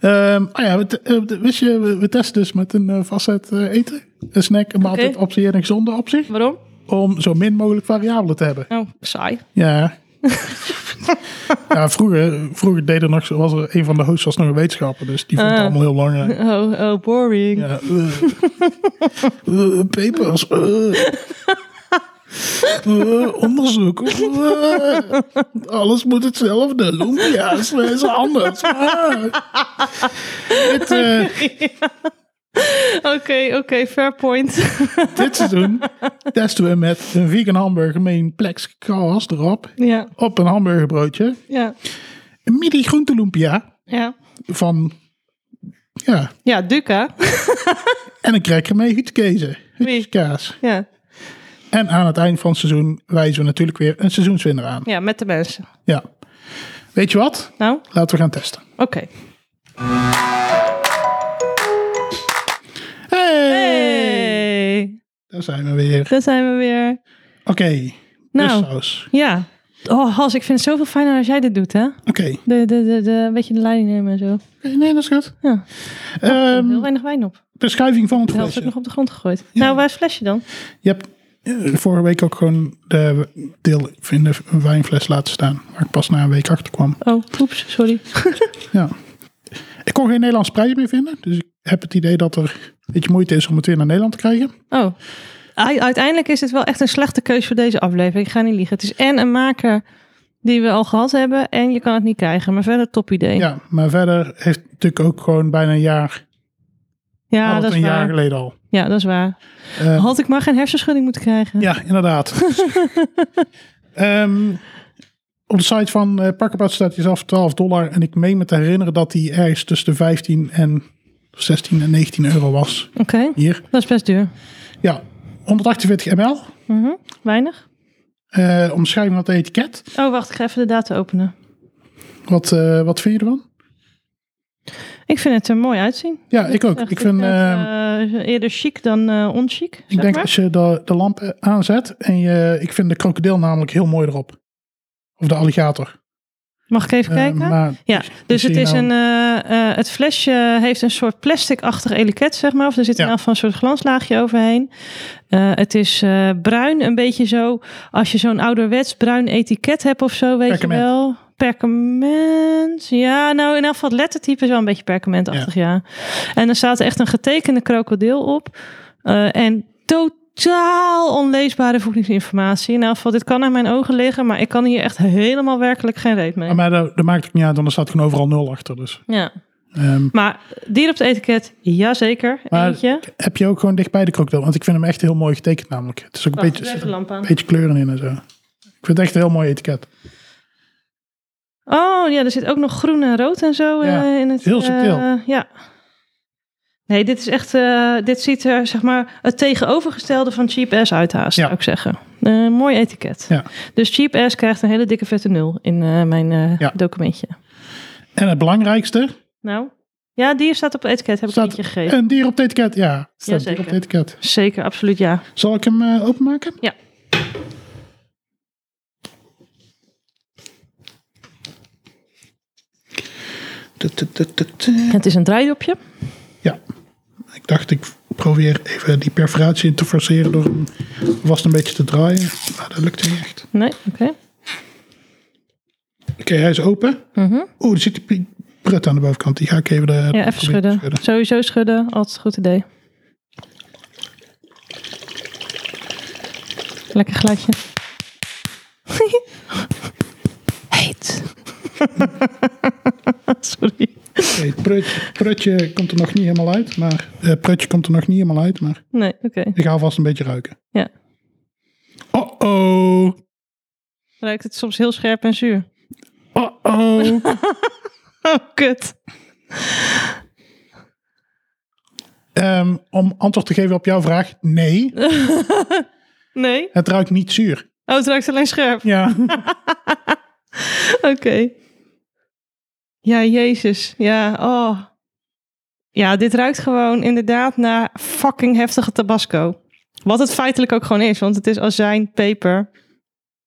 Ehm ah ja, we, te- eh, we- wist je, we, we testen dus met een eh, vastzet eh, eten. Een snack, een maaltijd optie en een gezonde optie.
Waarom?
Om zo min mogelijk variabelen te hebben.
Nou, saai.
Ja. ja, vroeger, vroeger deed er nog, zo- was er een van de hosts was nog een wetenschapper. Dus die vond het
Ah.
allemaal heel belangrijk.
Oh, oh boring.
Ja, eh. Eh, papers. eh. Eh, onderzoek. eh. alles moet hetzelfde. Lumpia's eh, is anders. Ah. dit, eh,
Oké, oké, fair point.
dit seizoen testen we met een vegan hamburger met een plex kaas erop.
ja,
Op een hamburgerbroodje.
ja,
Een midi groente lumpia
ja.
van... Ja,
Ja, Duca.
En dan krijg je mee hutkezen.
Wie?
Hutkaas.
Ja.
En aan het eind van het seizoen wijzen we natuurlijk weer een seizoenswinnaar aan.
ja, met de mensen.
Ja. Weet je wat?
Nou,
Laten we gaan testen.
oké.
Hey!
Hey,
Daar zijn we weer.
daar zijn we weer.
Oké.
Nou.
De saus.
Ja. Oh, Hans, ik vind het zoveel fijner als jij dit doet, hè?
Oké.
De, de, de, de, een beetje de leiding nemen en zo.
Nee, dat is goed.
Ja.
Ehm,
Heel weinig wijn op.
beschrijving van het
De helft is ook nog
flesje.
op de grond gegooid. Nou, waar is het flesje dan?
Je hebt eh, vorige week ook gewoon de deel in de wijnfles laten staan. Waar ik pas na een week achter kwam.
Oh, oeps, sorry.
Ja. Ik kon geen Nederlands prijs meer vinden. Dus ik heb het idee dat er een beetje moeite is om het weer naar Nederland te krijgen.
Oh. U- Uiteindelijk is het wel echt een slechte keuze voor deze aflevering. Ik ga niet liegen. Het is en een maker die we al gehad hebben en je kan het niet krijgen. Maar verder top idee.
Ja, maar verder heeft het natuurlijk ook gewoon bijna een jaar.
Ja,
had het
dat is
een jaar
waar.
geleden al.
Ja, dat is waar.
Eh,
Had ik maar geen hersenschudding moeten krijgen.
ja, inderdaad. Ehm, op de site van eh Pakkenpad staat hij zelf 12 dollar. En ik meen me te herinneren dat hij ergens tussen de 15 en 16 en 19 euro was.
Oké,
Hier.
dat is best duur.
Ja, 148 ml.
Mhm. Weinig.
Eh omschrijving van het etiket.
Oh, wacht. Ik ga even de data openen.
Wat, eh, wat vind je ervan?
Ik vind het er mooi uitzien.
Ja, ik ook.
Echt,
Ik vind...
het,
ehm,
eh, eerder chic dan eh onchic.
Ik
zeg
denk
maar.
als je de, de lamp eh, aanzet en je, ik vind de krokodil namelijk heel mooi erop. Of de alligator.
Mag ik even
Eh,
kijken?
maar
Ja, dus
zie
het
je
is
nou-
een. eh, eh, het flesje heeft een soort plasticachtig etiket, zeg maar. Of er zit
Ja.
een van een soort glanslaagje overheen. Eh, het is eh, bruin, een beetje zo. Als je zo'n ouderwets bruin etiket hebt of zo, weet
Perkament.
je wel. Perkament. Ja, nou in elk geval het lettertype is wel een beetje perkamentachtig, ja. En er staat echt een getekende krokodil op. eh, en totaal onleesbare voedingsinformatie. In elk geval, dit kan aan mijn ogen liggen, maar ik kan hier echt helemaal werkelijk geen reet mee.
maar dat, dat maakt ook niet uit, want er staat gewoon overal nul achter. Dus.
Ja.
Ehm,
Maar dier op het etiket, jazeker.
Maar-
Eentje.
heb je ook gewoon dichtbij de krokodil? Want ik vind hem echt heel mooi getekend namelijk. Het is ook een
Wacht,
beetje,
er is
er
de lamp aan.
een beetje kleuren in en zo. Ik vind het echt een heel mooi etiket.
Oh ja, er zit ook nog groen en rood en zo
Ja,
eh, in het.
heel subtiel.
eh, ja. Nee, dit is echt. eh, dit ziet er zeg maar het tegenovergestelde van cheap ass uit haast,
Ja.
zou ik zeggen. Eh, mooi etiket.
Ja.
Dus cheap ass krijgt een hele dikke vette nul in eh, mijn eh,
Ja.
documentje.
En het belangrijkste,
Nou, ja, dier staat op het etiket. Heb ik
Staat-
een eentje gegeven.
een dier op het etiket. Ja, staat een dier
Jazeker.
op het etiket.
Zeker, absoluut ja.
Zal ik hem eh, openmaken?
Ja.
Tut, tut, tut, tut, tut.
Het is een draaidopje.
Ja, ik dacht ik probeer even die perforatie in te forceren door hem vast een beetje te draaien. Maar dat lukt niet echt.
Nee, oké.
Oké, hij is open.
Mhm.
Oeh, er zit die prut aan de bovenkant. Die ga ik even... eh, De,
Ja, even schudden. Sowieso schudden, altijd een goed idee. Lekker gladje. Heet. Sorry.
Oké, het prutje, prutje komt er nog niet helemaal uit. Maar, eh, prutje komt er nog niet helemaal uit, maar
Nee, oké.
ik ga alvast een beetje ruiken.
Ja.
Oh-oh.
Ruikt het soms heel scherp en zuur.
Oh-oh.
Oh, kut.
Ehm, om antwoord te geven op jouw vraag, nee.
Nee?
Het ruikt niet zuur.
Oh, het ruikt alleen scherp.
Ja.
Oké. Ja, Jezus. Ja, oh. Ja, dit ruikt gewoon inderdaad naar fucking heftige tabasco. Wat het feitelijk ook gewoon is, want het is azijn, peper,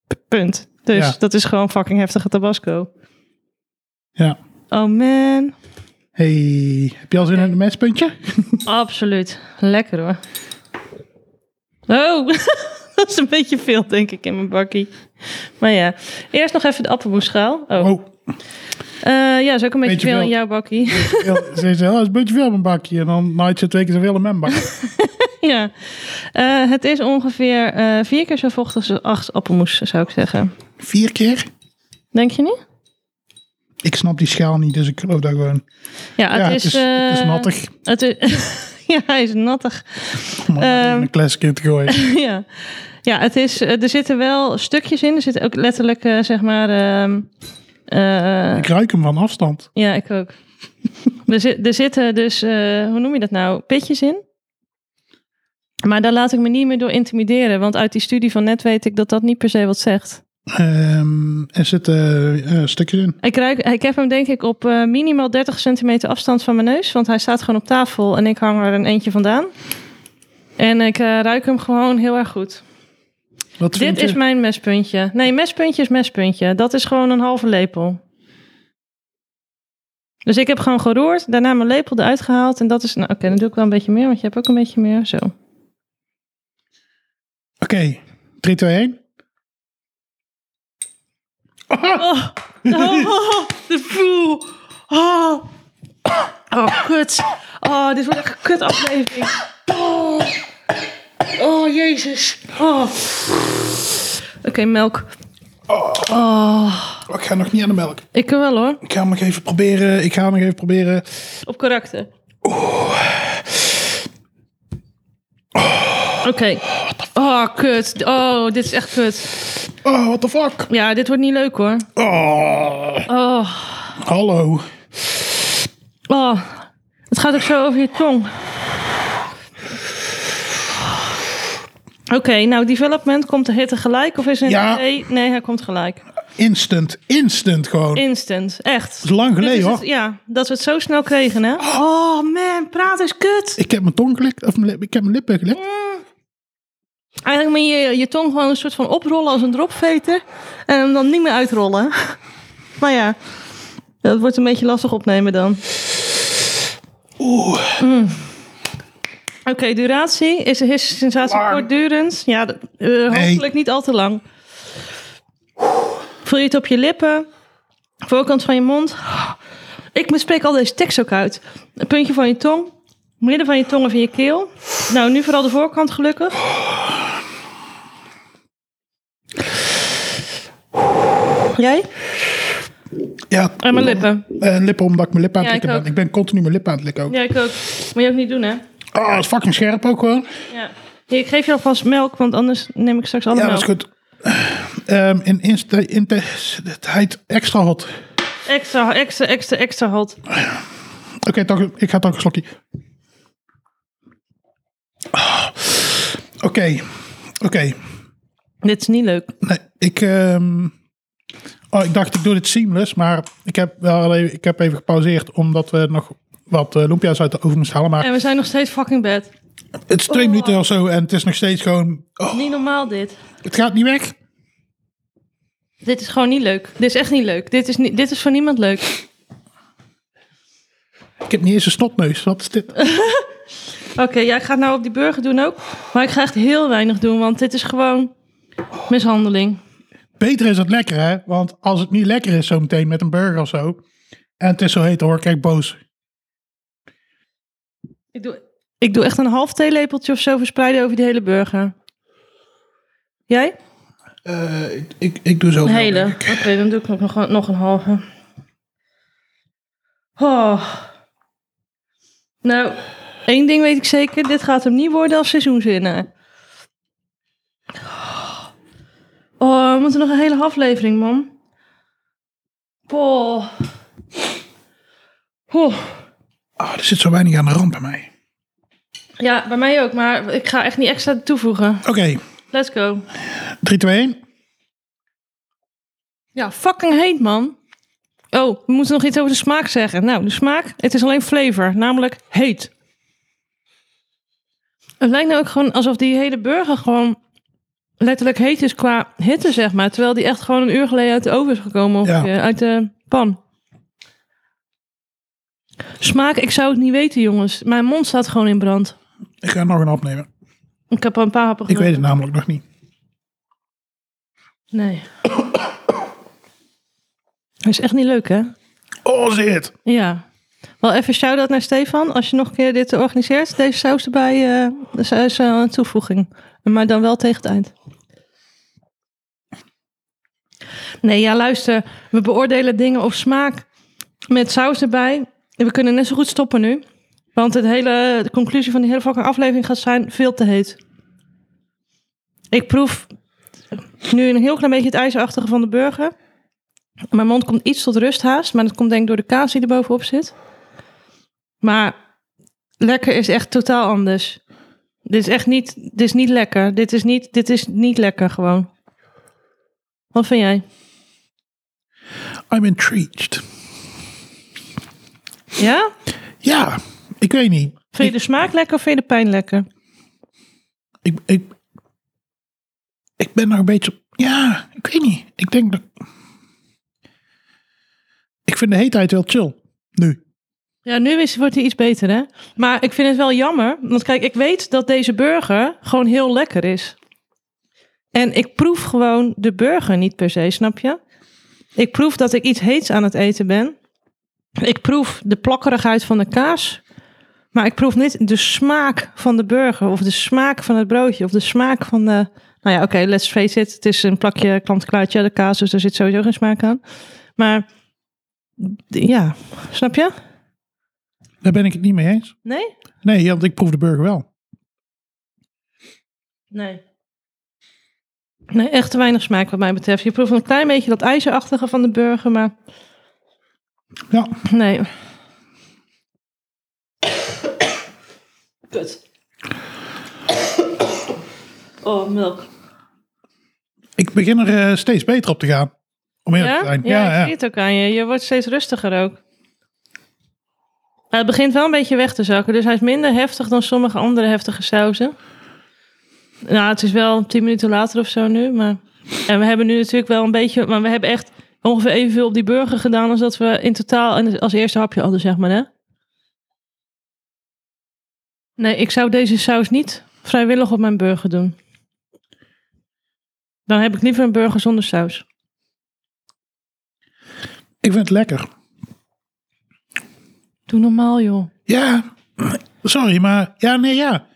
p- punt. Dus
Ja.
dat is gewoon fucking heftige tabasco.
ja.
Oh man.
Hey, heb je al zin in een mespuntje?
Absoluut. Lekker hoor. Oh, dat is een beetje veel denk ik in mijn bakkie. Maar ja, eerst nog even de appelmoesschaal. Oh,
Oh,
Eh, ja, is ook een beetje
Beetje
veel in
veel.
jouw bakkie.
heel, ze zei, "Oh, dat is een beetje veel op een bakje. En dan naait ze twee keer zoveel in mijn bak.
Ja, Eh, het is ongeveer eh, vier keer zo vochtig als acht appelmoes, zou ik zeggen.
Vier keer?
Denk je niet?
Ik snap die schaal niet, dus ik geloof dat gewoon.
Ja, het,
ja,
is,
het is
eh,
nattig.
Het is, ja, hij is nattig.
Om er
ehm,
een classic in te gooien.
ja, ja het is, eh, er zitten wel stukjes in. Er zitten ook letterlijk, eh, zeg maar... ehm, eh,
Ik ruik hem van afstand.
ja, ik ook. er, zit, er zitten dus, eh, hoe noem je dat nou? Pitjes in. Maar daar laat ik me niet meer door intimideren. Want uit die studie van net weet ik dat dat niet per se wat zegt.
Ehm, er zitten eh, stukjes in.
Ik, ruik, ik heb hem denk ik op eh, minimaal 30 centimeter afstand van mijn neus. Want hij staat gewoon op tafel en ik hang er een eentje vandaan. En ik eh, ruik hem gewoon heel erg goed.
Wat vind
Dit
je?
is mijn mespuntje. Nee, mespuntje is mespuntje. Dat is gewoon een halve lepel. Dus ik heb gewoon geroerd, daarna mijn lepel eruit gehaald. En dat is, nou oké, dan doe ik wel een beetje meer, want je hebt ook een beetje meer. Zo.
Oké, 3, 2, 1.
Oh, oh, oh, de voel. Oh. oh, kut. Oh, dit wordt echt een kut aflevering. Oh, oh jezus. Oh. Oké, melk. Oh.
Oh, ik ga nog niet aan de melk.
Ik kan wel hoor,
Ik ga hem nog even proberen. Ik ga hem nog even proberen.
op karakter. Oké. Oh, kut. Oh, dit is echt kut.
Oh, what the fuck?
Ja, dit wordt niet leuk hoor.
Oh,
Oh.
hallo.
Oh, het gaat ook zo over je tong. Oké, nou, development, komt de hit tegelijk of is het
Ja.
nee, nee, hij komt gelijk.
Instant, instant gewoon.
Instant, echt.
is lang geleden,
Dit is
hoor.
het- Ja, dat we het zo snel kregen, hè? Oh man, praat is kut.
Ik heb mijn tong gelikt, of mijn lip- ik heb mijn lippen gelikt.
Eigenlijk moet je je tong gewoon een soort van oprollen als een dropveter en hem dan niet meer uitrollen. Maar ja, dat wordt een beetje lastig opnemen dan. Mm.
Oeh,
Oké, duratie. Is de hissensatie
Lang.
kortdurend? Ja, d- eh, hopelijk niet al te lang. Voel je het op je lippen? Voorkant van je mond? Ik bespreek al deze tekst ook uit. Een puntje van je tong. Midden van je tong en van je keel. Nou, nu vooral de voorkant gelukkig. Jij?
ja,
En mijn lippen.
eh, lippen omdat ik mijn lippen aan
Ja,
het
ik
likken
ook.
ben. Ik ben continu mijn lippen aan het likken ook.
Ja, ik ook. Moet je ook niet doen, hè?
Oh, dat is fucking scherp ook gewoon.
Ja. Hier, ik geef je alvast melk, want anders neem ik straks alle
Ja,
melk.
dat is goed. Ehm, in insta- intensiteit extra hot.
Extra, extra, extra, extra hot.
Oké, toch- ik ga toch een slokje. Ah, Oké, oké.
Dit is niet leuk.
Nee, ik, ehm, oh, ik dacht ik doe dit seamless, maar ik heb, wel even, ik heb even gepauzeerd omdat we nog wat eh lumpia's uit de oven moesten halen. Maar
En we zijn nog steeds fucking bed.
het is twee minuten of zo en het is nog steeds gewoon... oh,
Niet normaal dit.
het gaat niet weg.
Dit is gewoon niet leuk. Dit is echt niet leuk. Dit is, niet, dit is voor niemand leuk.
Ik heb niet eens een snotneus. Wat is dit?
Oké, ja, ik ga het nou op die burger doen ook. Maar ik ga echt heel weinig doen, want dit is gewoon mishandeling.
Beter is het lekker, hè? Want als het niet lekker is zometeen met een burger of zo... En het is zo heet, dan word ik echt boos.
Ik doe, ik doe echt een half theelepeltje of zo verspreiden over die hele burger. Jij?
Eh, ik, ik, ik doe zo.
Een hele. Oké, dan doe ik nog, nog, nog een halve. Oh. Nou, één ding weet ik zeker. Dit gaat hem niet worden als seizoenswinnaar. Oh, we moeten nog een hele aflevering, man. Oh. Oh.
Ah, er zit zo weinig aan de rand bij mij.
Ja, bij mij ook, maar ik ga echt niet extra toevoegen.
Oké,
Let's go.
3, 2, 1.
Ja, fucking heet, man. Oh, we moeten nog iets over de smaak zeggen. Nou, de smaak, het is alleen flavor, namelijk heet. Het lijkt nou ook gewoon alsof die hele burger gewoon letterlijk heet is qua hitte, zeg maar. Terwijl die echt gewoon een uur geleden uit de oven is gekomen, of
Ja.
eh, uit de pan. Smaak, ik zou het niet weten, jongens. Mijn mond staat gewoon in brand.
Ik ga nog een opnemen.
Ik heb al een paar happen
Ik weet
genomen.
het namelijk nog niet.
Nee. Dat is echt niet leuk, hè?
Oh, zit.
Ja. Wel even shout-out naar Stefan. Als je nog een keer dit organiseert, deze saus erbij. eh dat is eh, een toevoeging. Maar dan wel tegen het eind. Nee, ja, luister. We beoordelen dingen op smaak met saus erbij. En We kunnen net zo goed stoppen nu. Want het hele, de conclusie van die hele fucking aflevering gaat zijn veel te heet. Ik proef nu een heel klein beetje het ijzerachtige van de burger. Mijn mond komt iets tot rust haast, maar dat komt denk ik door de kaas die er bovenop zit. Maar lekker is echt totaal anders. Dit is echt niet, dit is niet lekker. Dit is niet, dit is niet lekker gewoon. Wat vind jij?
I'm intrigued.
Ja?
Ja, ik weet niet.
Vind je de smaak lekker of vind je de pijn lekker?
Ik, ik, ik ben nog een beetje... Ja, ik weet niet. Ik denk dat... Ik vind de heetheid wel chill. Nu.
Ja, nu is, wordt hij iets beter, hè? Maar ik vind het wel jammer. Want kijk, ik weet dat deze burger gewoon heel lekker is. En ik proef gewoon de burger niet per se, snap je? Ik proef dat ik iets heets aan het eten ben. Ik proef de plakkerigheid van de kaas. Maar ik proef niet de smaak van de burger. Of de smaak van het broodje. Of de smaak van de... Nou ja, oké, let's face it. Het is een plakje kant-klaar cheddar kaas. Dus er zit sowieso geen smaak aan. Maar ja, snap je?
Daar ben ik het niet mee eens.
Nee?
Nee, want ik proef de burger wel.
Nee. Nee, echt te weinig smaak wat mij betreft. Je proeft een klein beetje dat ijzerachtige van de burger, maar
Ja,
nee. Kut. Oh, melk.
ik begin er eh, steeds beter op te gaan. Om eerlijk
Ja?
te zijn.
ja, ik
Ja, ja.
zie het ook aan je. Je wordt steeds rustiger ook. Maar het begint wel een beetje weg te zakken. Dus hij is minder heftig dan sommige andere heftige sauzen. Nou, het is wel tien minuten later of zo nu. Maar... En we hebben nu natuurlijk wel een beetje... Maar we hebben echt ongeveer evenveel op die burger gedaan... als dat we in totaal in- als eerste hapje hadden, zeg maar, hè? Nee, ik zou deze saus niet vrijwillig op mijn burger doen. Dan heb ik liever een burger zonder saus.
Ik vind het lekker.
Doe normaal, joh.
Ja, sorry, maar ja, nee, ja.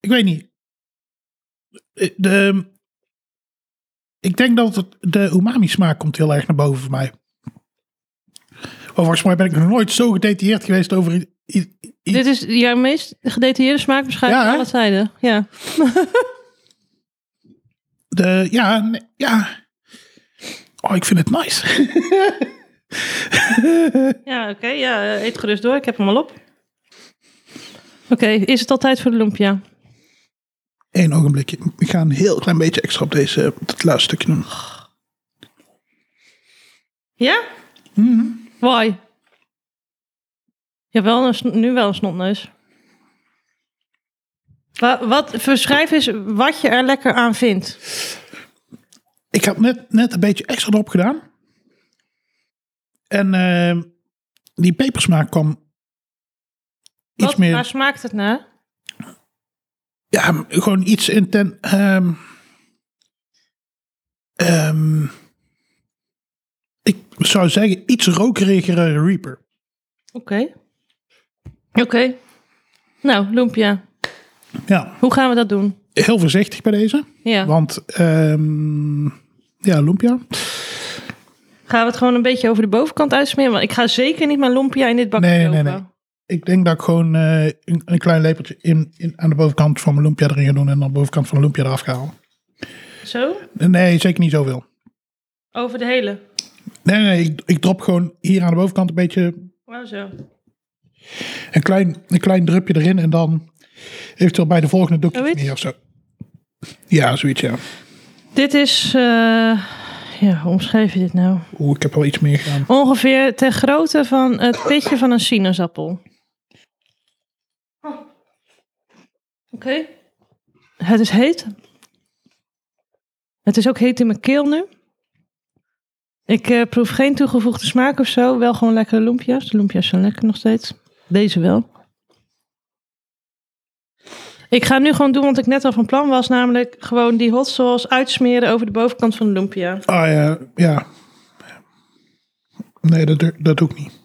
Ik weet niet. Eh, De, ik denk dat het, de umami smaak komt heel erg naar boven voor mij. Overigens, mij ben ik nog nooit zo gedetailleerd geweest over... i- i- i-
Dit is jouw meest gedetailleerde smaakbeschrijving
Ja,
van
hè?
alle tijden. Ja.
de, ja, nee, ja. Oh, ik vind het nice.
Ja, oké. ja, eh, eet gerust door. Ik heb hem al op. Oké, is het al tijd voor de lumpia?
Eén ogenblikje. Ik ga een heel klein beetje extra op deze, op dit laatste stukje doen.
Ja?
Mhm.
Why? Je hebt wel een, sn- nu wel een snotneus. Wa- wat, verschrijf eens wat je er lekker aan vindt.
Ik had net, net een beetje extra erop gedaan. En eh, die pepersmaak kwam iets
Wat,
meer.
Waar smaakt het naar?
Ja, gewoon iets intens. ehm ehm, ik zou zeggen iets rokerigere Reaper.
Oké. Oké. Nou, lumpia.
Ja,
Hoe gaan we dat doen?
heel voorzichtig bij deze.
Ja.
Want, ehm, ja, Lumpia.
Gaan we het gewoon een beetje over de bovenkant uitsmeren? Want ik ga zeker niet mijn lompia in dit bakje
Nee, nee,
kopen.
nee. Ik denk dat ik gewoon eh, een, een klein lepeltje in, in, aan de bovenkant van mijn Lumpia erin ga doen. En aan de bovenkant van de Lumpia eraf ga halen.
Zo?
Nee, zeker niet zoveel.
Over de hele?
Nee, nee, ik, ik drop gewoon hier aan de bovenkant een beetje
Wauw, zo.
een klein, een klein drupje erin en dan eventueel bij de volgende doekjes
Zoiets?
neer of zo. Ja, zoiets, ja.
Dit is... eh, ja, hoe omschrijf je dit nou?
Oeh, ik heb al iets meer gedaan.
Ongeveer ter grootte van het pitje van een sinaasappel. Oh. Oké. Het is heet. Het is ook heet in mijn keel nu. Ik eh, proef geen toegevoegde smaak of zo. Wel gewoon lekkere loempjes. De loempjes zijn lekker nog steeds. Deze wel. Ik ga nu gewoon doen wat ik net al van plan was. Namelijk gewoon die hot sauce uitsmeren over de bovenkant van de lumpia.
Ah ja, ja. Nee, dat, doe- dat doe ik niet.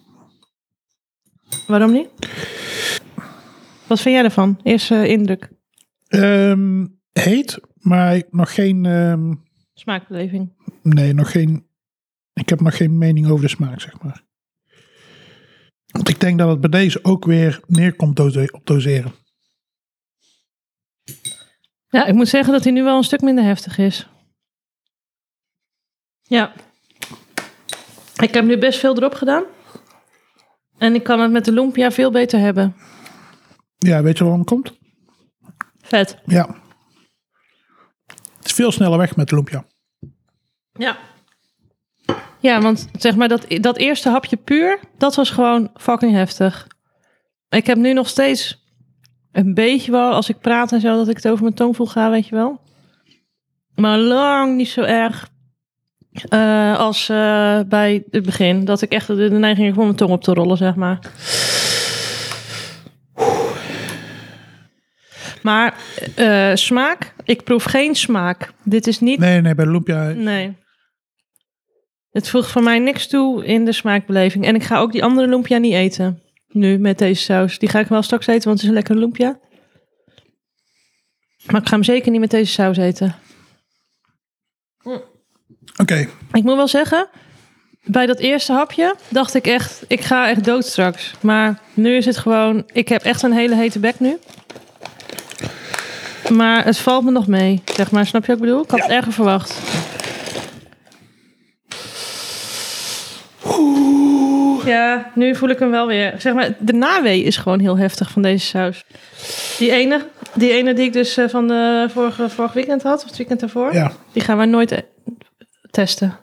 Waarom niet? Wat vind jij ervan? Eerste indruk,
Ehm, heet, maar nog geen, ehm,
smaakbeleving.
nee, nog geen, ik heb nog geen mening over de smaak, zeg maar. Want ik denk dat het bij deze ook weer neerkomt dose- op doseren.
Ja, ik moet zeggen dat hij nu wel een stuk minder heftig is. Ja. Ik heb nu best veel erop gedaan. En ik kan het met de lumpia veel beter hebben.
Ja, weet je waarom het komt?
Vet.
Ja. Het is veel sneller weg met de lumpia.
Ja. Ja, want zeg maar dat, dat eerste hapje puur, dat was gewoon fucking heftig. Ik heb nu nog steeds een beetje wel, als ik praat en zo, dat ik het over mijn tong voel gaan, weet je wel. Maar lang niet zo erg eh, als eh, bij het begin. Dat ik echt de, de neiging heb om mijn tong op te rollen, zeg maar. Maar eh, smaak, ik proef geen smaak. Dit is niet
Nee, nee, bij de lumpia.
Nee. Het voegt voor mij niks toe in de smaakbeleving. En ik ga ook die andere lumpia niet eten. Nu, met deze saus. Die ga ik wel straks eten, want het is een lekkere lumpia. Maar ik ga hem zeker niet met deze saus eten.
Oké,
Ik moet wel zeggen, bij dat eerste hapje dacht ik echt, ik ga echt dood straks. Maar nu is het gewoon, ik heb echt een hele hete bek nu. Maar het valt me nog mee, zeg maar. Snap je wat ik bedoel? Ik had het erger verwacht. Ja, nu voel ik hem wel weer. Zeg maar, de nawee is gewoon heel heftig van deze saus. Die ene, die, ene die ik dus eh, van de vorige, vorig weekend had, of het weekend daarvoor.
ja.
Die gaan we nooit eh, testen.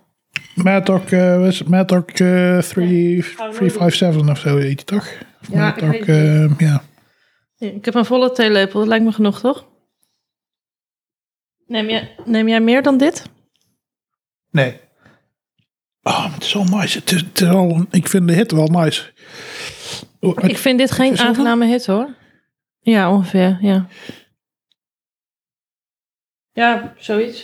Mattock, eh was het Mattock eh, 3 357 of zo heet die toch? Of
Ja, ik
Mattock,
weet het
eh, ja.
Ja, Ik heb een volle theelepel, dat lijkt me genoeg, toch? Neem jij, neem jij meer dan dit?
Nee. Oh, maar het is wel nice. Het is, het is wel, een- ik vind de hitte wel nice. Oh,
Ik vind dit geen
Zoveel?
aangename hit, hoor. Ja, ongeveer, ja. Ja, zoiets.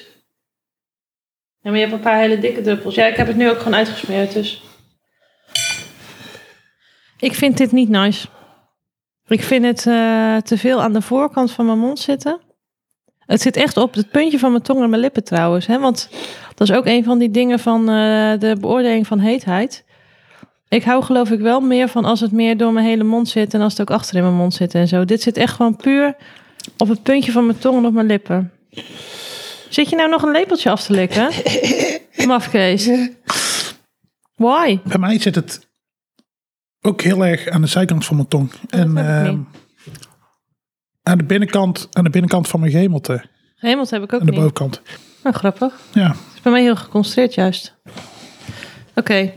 Ja, maar je hebt een paar hele dikke druppels. Ja, ik heb het nu ook gewoon uitgesmeerd, dus... Ik vind dit niet nice. Ik vind het eh, te veel aan de voorkant van mijn mond zitten. Het zit echt op het puntje van mijn tong en mijn lippen trouwens. Hè? Want dat is ook een van die dingen van eh, de beoordeling van heetheid. Ik hou geloof ik wel meer van als het meer door mijn hele mond zit... en als het ook achter in mijn mond zit en zo. Dit zit echt gewoon puur op het puntje van mijn tong en op mijn lippen. Zit je nou nog een lepeltje af te likken? Mafkees. Why?
Bij mij zit het ook heel erg aan de zijkant van mijn tong. en
heb ik
ehm,
niet.
aan, de binnenkant, aan de binnenkant van mijn gemelte.
Hemels heb ik ook
aan de
niet.
bovenkant.
Nou, grappig.
Ja.
Het is bij mij heel geconcentreerd juist. Oké.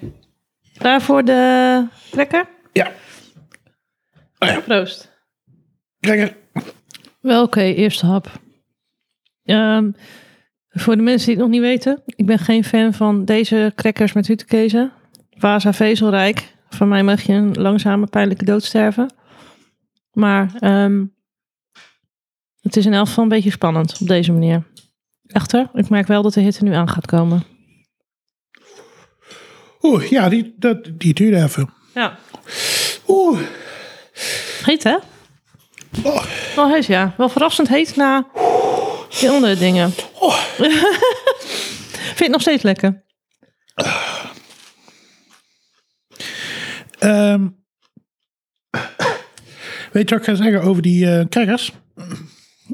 Klaar voor de trekker?
Ja. Oh ja.
Proost.
Kijk er.
Wel oké, eerste hap. Ehm, voor de mensen die het nog niet weten, ik ben geen fan van deze crackers met hutekezen. Vasa vezelrijk. Van mij mag je een langzame, pijnlijke dood sterven. Maar ehm, het is in elk geval een beetje spannend op deze manier. Echter, ik merk wel dat de hitte nu aan gaat komen.
Oeh, ja, die, dat, die duurde even.
Ja.
Oeh.
Heet hè?
Oh.
Wel heet ja. Wel verrassend heet na die andere dingen. Vind je het nog steeds lekker?
Ehm, weet je wat ik ga zeggen over die eh crackers?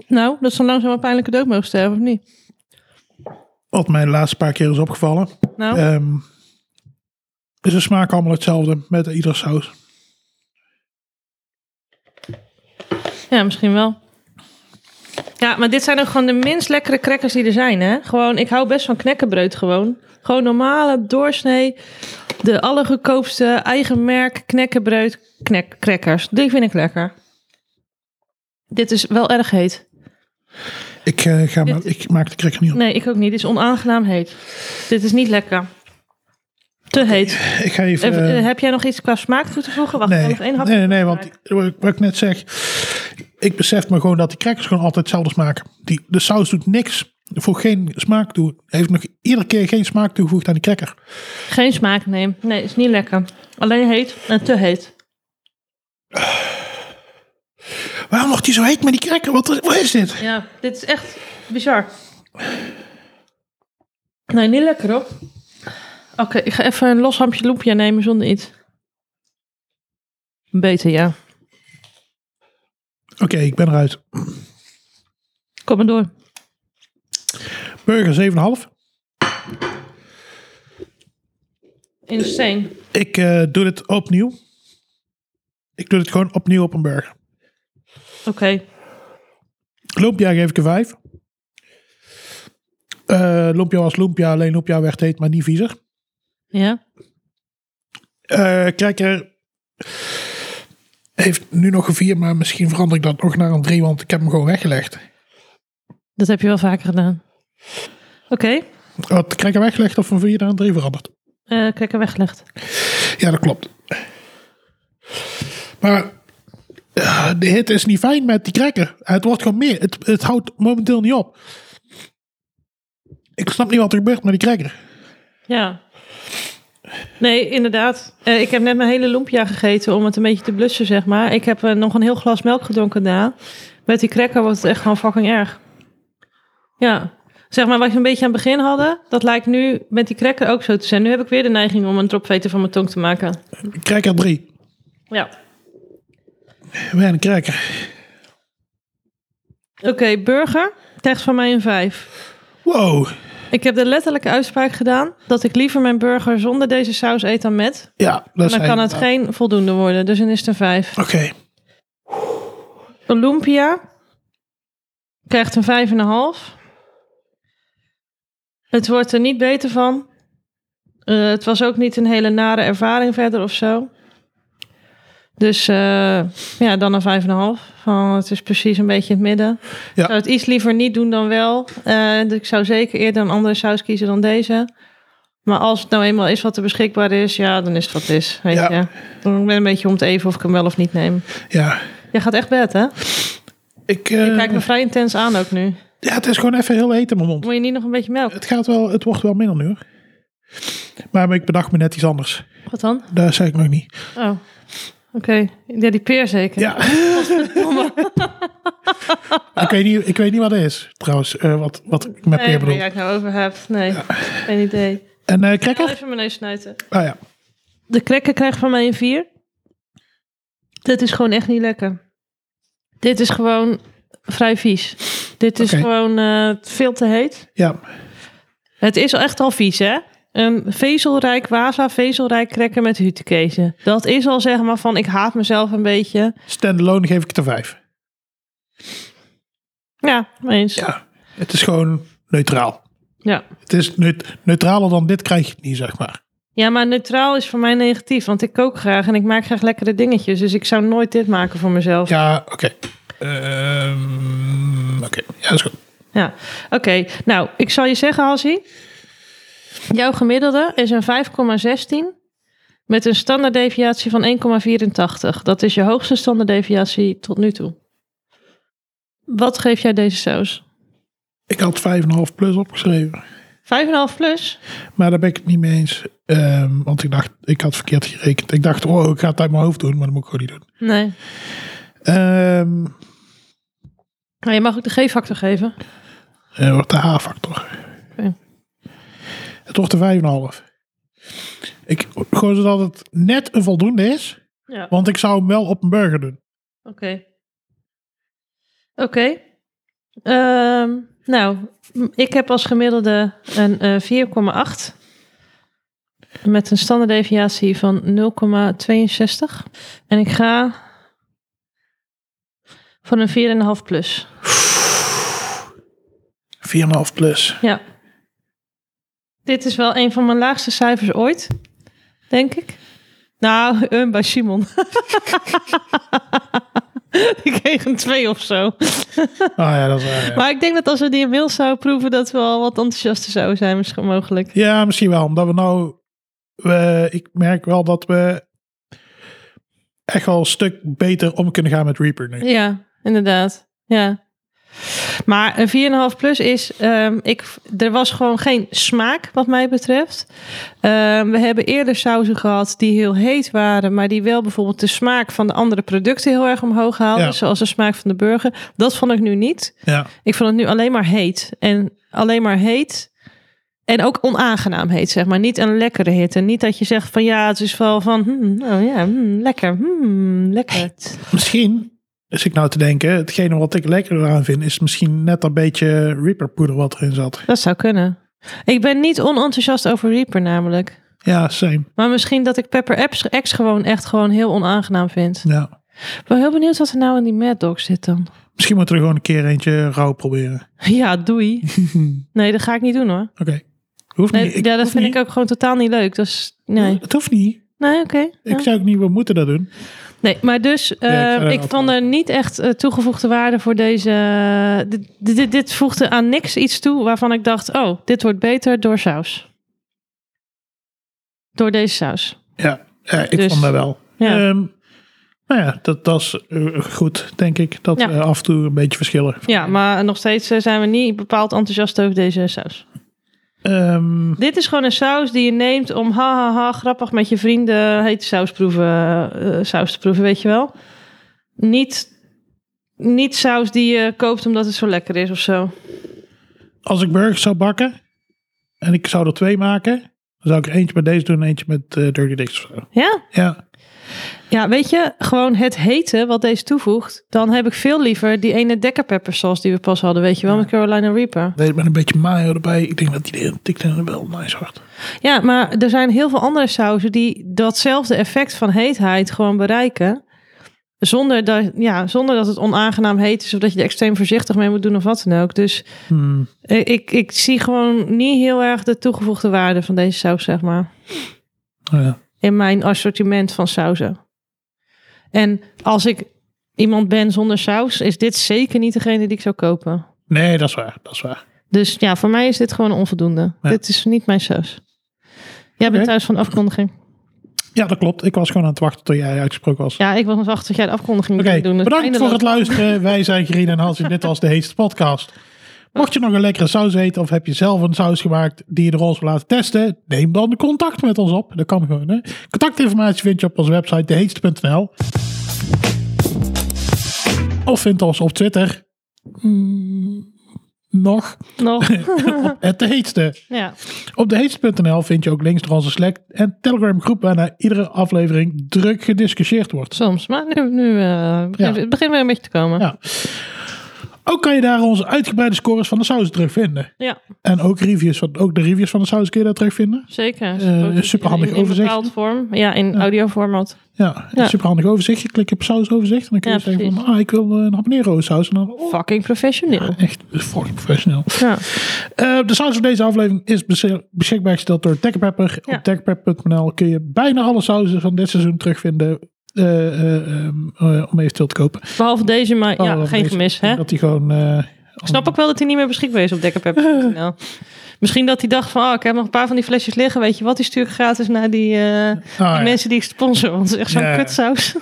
Nou, dat ze dan langzaam een pijnlijke dood mogen sterven, of niet?
Wat mij de laatste paar keer is opgevallen.
Nou,
Ehm, dus ze smaken allemaal hetzelfde met ieder saus.
ja, misschien wel. Ja, maar dit zijn ook gewoon de minst lekkere crackers die er zijn, hè? Gewoon, ik hou best van knekkenbreud gewoon. Gewoon normale, doorsnee, de allergoedkoopste, eigen merk, knekkenbreud, knek, crackers. Die vind ik lekker. Dit is wel erg heet.
Ik, eh, ga maar,
Dit-
ik maak de cracker niet op.
Nee, ik ook niet. Dit is onaangenaam heet. Dit is niet lekker. Te heet.
Ik ga even...
Even,
eh,
eh, heb jij nog iets qua smaak toe te voegen? Wacht, ik
nee.
ga nog één hapje.
nee, nee, nee, want wat ik net zeg... Ik besef me gewoon dat die crackers gewoon altijd hetzelfde smaken. Die, de saus doet niks voor geen smaak toe. Heeft nog iedere keer geen smaak toegevoegd aan die cracker.
Geen smaak, nee. Nee, is niet lekker. Alleen heet en te heet.
Waarom wordt die zo heet met die cracker? Wat, wat is dit?
Ja, dit is echt bizar. Nee, niet lekker hoor. Oké, ik ga even een los hampje loempia nemen zonder iets. Beter, ja.
Oké, ik ben eruit.
Kom maar door.
Burger 7,5.
Insane.
Ik eh, doe dit opnieuw. Ik doe dit gewoon opnieuw op een burger.
Oké.
Lumpia geef ik een 5. Eh Lumpia was Lumpia, alleen Lumpia werd heet, maar niet viezer.
Ja.
Eh kijker heeft nu nog een 4, maar misschien verander ik dat nog naar een 3, want ik heb hem gewoon weggelegd.
Dat heb je wel vaker gedaan. Oké.
Had kijker weggelegd of een 4 naar een 3 veranderd?
eh, kijk er weggelegd.
Ja, dat klopt. Maar eh, de hit is niet fijn met die cracker. Het wordt gewoon meer. Het, het houdt momenteel niet op. Ik snap niet wat er gebeurt met die cracker.
Ja. Nee, inderdaad. Eh, ik heb net mijn hele lumpia gegeten om het een beetje te blussen, zeg maar. Ik heb eh, nog een heel glas melk gedronken daarna. Met die cracker was het echt gewoon fucking erg. Ja. Zeg maar, wat we een beetje aan het begin hadden, dat lijkt nu met die cracker ook zo te zijn. Nu heb ik weer de neiging om een dropveter van mijn tong te maken.
Cracker 3.
Ja.
Weer een cracker.
Oké, burger. Terecht van mij een 5.
Wow.
Ik heb de letterlijke uitspraak gedaan dat ik liever mijn burger zonder deze saus eet dan met.
Ja, dat is
Dan kan het
eigenlijk-
geen voldoende worden, dus dan is het een 5.
Oké.
Olympia krijgt een 5,5. Het wordt er niet beter van. Eh, het was ook niet een hele nare ervaring verder of zo. Dus eh, ja, dan een 5,5. Van, het is precies een beetje in het midden.
Ja.
Ik zou het iets liever niet doen dan wel. Eh, dus ik zou zeker eerder een andere saus kiezen dan deze. Maar als het nou eenmaal is wat er beschikbaar is, ja, dan is het wat het is. Weet
Ja.
je. Dan ben ik een beetje om het even of ik hem wel of niet neem.
Ja.
Jij gaat echt bed, hè?
Ik, eh,
Ik kijk me vrij intens aan ook nu.
ja, het is gewoon even heel heet in mijn mond.
Moet je niet nog een beetje melk?
Het, gaat wel, het wordt wel minder nu. hoor. Maar ik bedacht me net iets anders.
Wat dan?
Daar zei ik nog niet.
Oh, oké. Ja, die peer zeker.
Ja. ik, weet niet ik weet niet wat het is, trouwens. eh, wat, wat ik met
nee,
peer
waar
bedoel.
jij het nou over hebt. Nee, geen idee.
En eh
Ik ga
cracker?
even mijn neus snuiten.
Ah ja.
De krekken krijgt van mij een 4. Dit is gewoon echt niet lekker. Dit is gewoon vrij vies. Dit is
Oké.
gewoon eh, veel te heet.
Ja.
Het is echt al vies, hè? Een vezelrijk waza, vezelrijk krekken met hutekezen. Dat is al zeg maar van ik haat mezelf een beetje.
Standalone geef ik het een 5.
Ja, eens.
Ja. Het is gewoon neutraal.
ja.
Het is neut- neutraler dan dit krijg je het niet, zeg maar.
Ja, maar neutraal is voor mij negatief, want ik kook graag en ik maak graag lekkere dingetjes. Dus ik zou nooit dit maken voor mezelf. Ja,
Ja, oké. Ehm, oké, ja, dat is goed.
oké. Nou, ik zal je zeggen, Hassie. Jouw gemiddelde is een 5,16 met een standaarddeviatie van 1,84. Dat is je hoogste standaarddeviatie tot nu toe. Wat geef jij deze saus?
Ik had 5,5 plus opgeschreven.
5,5 plus?
Maar daar ben ik het niet mee eens. Ehm, want ik dacht, ik had verkeerd gerekend. Ik dacht, oh, ik ga het uit mijn hoofd doen, maar dat moet ik gewoon niet doen.
Nee.
Ehm,
Nou, je mag ook de G-factor geven.
het Eh, wordt de H-factor.
Oké.
Het wordt de 5,5. Ik, gewoon zodat het net een voldoende is.
Ja.
Want ik zou hem wel op een burger doen.
Oké. Oké. Ehm, nou, m- ik heb als gemiddelde een eh, 4,8. Met een standaarddeviatie van 0,62. En ik ga voor een 4,5 plus.
4,5 plus.
Ja. Dit is wel een van mijn laagste cijfers ooit, denk ik. Nou, eh, bij Simon. ik kreeg een 2 of zo.
Ah ja, dat is waar, ja.
Maar ik denk dat als we die in mail zouden proeven, dat we al wat enthousiaster zouden zijn, misschien mogelijk.
Ja, misschien wel. Omdat we nou... we- ik merk wel dat we echt wel een stuk beter om kunnen gaan met Reaper nu.
Ja, inderdaad. Ja. Maar een 4,5 plus is, ehm, ik, er was gewoon geen smaak wat mij betreft. Ehm, we hebben eerder sauzen gehad die heel heet waren, maar die wel bijvoorbeeld de smaak van de andere producten heel erg omhoog haalden.
Ja.
Zoals de smaak van de burger. Dat vond ik nu niet.
Ja,
Ik vond het nu alleen maar heet. En alleen maar heet. En ook onaangenaam heet, zeg maar. Niet een lekkere hit. En niet dat je zegt van ja, het is wel van. hmm, oh ja, hmm, lekker. hmm, lekker.
misschien is ik nou te denken, hetgene wat ik lekker eraan vind, is misschien net een beetje Reaper poeder wat erin zat.
Dat zou kunnen. Ik ben niet onenthousiast over Reaper namelijk.
Ja, same.
Maar misschien dat ik Pepper X- X gewoon echt gewoon heel onaangenaam vind.
Ja.
Ik ben heel benieuwd wat er nou in die Mad Dog zit dan.
Misschien moeten we er gewoon een keer eentje rauw proberen.
Ja, doei. Nee, dat ga ik niet doen hoor.
Oké. Hoeft
Nee,
niet.
ja, dat
hoeft
vind
niet.
ik ook gewoon totaal niet leuk. Dus nee.
Het hoeft niet.
Nee, oké. ja.
Ik zou ook niet, we moeten dat doen.
Nee, maar dus eh,
Ja, ik zou daar
ik
ook
vond
wel-
er niet echt eh, toegevoegde waarde voor deze. eh, Dit, dit, dit voegde aan niks iets toe waarvan ik dacht: oh, dit wordt beter door saus. Door deze saus.
Ja, ja ik
Dus-
vond dat wel.
Ja.
Ehm, nou ja, dat, dat is eh, goed, denk ik. Dat
Ja.
we af en toe een beetje verschillen.
Ja, maar nog steeds eh, zijn we niet bepaald enthousiast over deze saus.
Ehm,
Dit is gewoon een saus die je neemt om ha ha ha grappig met je vrienden hete saus, proeven, eh, saus te proeven, weet je wel. Niet, niet saus die je koopt omdat het zo lekker is of zo.
als ik burgers zou bakken en ik zou er twee maken, dan zou ik er eentje met deze doen en eentje met eh, Dirty Dicks. of zo.
Ja?
Ja,
Ja, weet je, gewoon het hete wat deze toevoegt, dan heb ik veel liever die ene dekkerpeppersaus die we pas hadden, weet je wel, met Carolina Reaper.
deze met een beetje mayo erbij. Ik denk dat die heel dik en wel nice wordt.
Ja, maar er zijn heel veel andere sauzen die datzelfde effect van heetheid gewoon bereiken. Zonder dat, ja, zonder dat het onaangenaam heet is of dat je er extreem voorzichtig mee moet doen of wat dan ook. Dus
Hmm.
eh, ik, ik zie gewoon niet heel erg de toegevoegde waarde van deze saus, zeg maar.
Ja.
in mijn assortiment van sauzen. En als ik iemand ben zonder saus, is dit zeker niet degene die ik zou kopen.
Nee, dat is waar. Dat is waar.
Dus ja, voor mij is dit gewoon onvoldoende.
Ja.
Dit is niet mijn saus. Jij bent
Oké.
thuis van de afkondiging.
Ja, dat klopt. Ik was gewoon aan het wachten tot jij uitgesproken was.
Ja, ik was nog achter dat jij de afkondiging
Oké,
ging doen. Dus
bedankt voor
eindeloos-
het luisteren. Wij zijn Gerien en Hans en dit was de Heetste Podcast. Mocht je nog een lekkere saus eten of heb je zelf een saus gemaakt die je de roze wil laten testen, neem dan contact met ons op. Dat kan gewoon. Hè? Contactinformatie vind je op onze website deheetste.nl of vind ons op Twitter. Mm, nog.
Nog.
Het de heetste.
ja.
Op deheetste.nl vind je ook links naar onze Slack en Telegram groep waarna iedere aflevering druk gediscussieerd wordt.
Soms. Maar nu, nu eh, begint,
Ja.
het begint weer een beetje te komen.
Ja. Ook kan je daar onze uitgebreide scores van de saus terugvinden.
Ja,
En ook reviews. Want ook de reviews van de saus kun je daar terugvinden.
zeker.
een Eh, superhandig
In- in
overzicht.
bepaald vorm. Ja, in audioformat.
Ja,
Ja.
een superhandig overzichtje. Klik op sausoverzicht. En dan kun je
Ja,
zeggen
precies.
van, ah, ik wil eh, een habanero saus. En dan, oh,
Fucking professioneel.
echt fucking professioneel.
Ja.
Eh, de saus voor deze aflevering is bes- beschikbaar gesteld door Tech Pepper.
Ja.
Op techpepper.nl kun je bijna alle sauzen van dit seizoen terugvinden. eh, eh, ehm, eh, om eventueel te kopen.
Behalve deze, maar ja,
Oh,
geen
deze-
gemis. Hè?
Dat die gewoon... eh,
Ik snap ook wel dat hij niet meer beschikbaar is op dekkerpep.nl. Misschien dat hij dacht van, oh, ik heb nog een paar van die flesjes liggen. Weet je wat, die stuur ik gratis naar die, eh, die
ah, ja.
mensen die ik sponsor. Want het is echt zo'n
Ja.
kutsaus.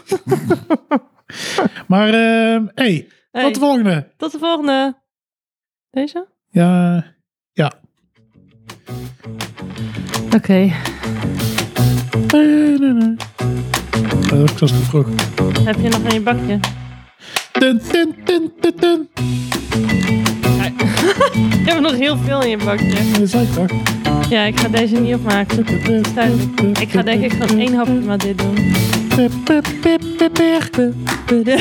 Maar ehm hey,
Hey,
tot de volgende.
tot de volgende. Deze?
Ja, ja.
Oké.
Nee, nee, nee. Dat was te vroeg.
Heb je nog in je bakje?
Dun, dun, dun, dun, dun.
Ik heb er nog heel veel in je bakje.
Dat zei ik toch?
Ja, ik ga deze niet opmaken. Stuit. Ik ga denk ik gewoon één hapje maar dit doen.
Pip, pip, pip, pip, pip.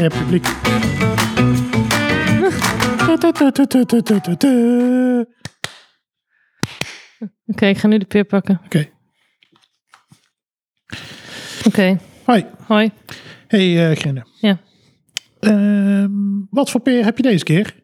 Ja, publiek. Oké.
Oké, ik ga nu de peer pakken. Oké,
Hoi.
hoi.
Hey, eh Grinne.
Ja.
Ehm, wat voor peer heb je deze keer?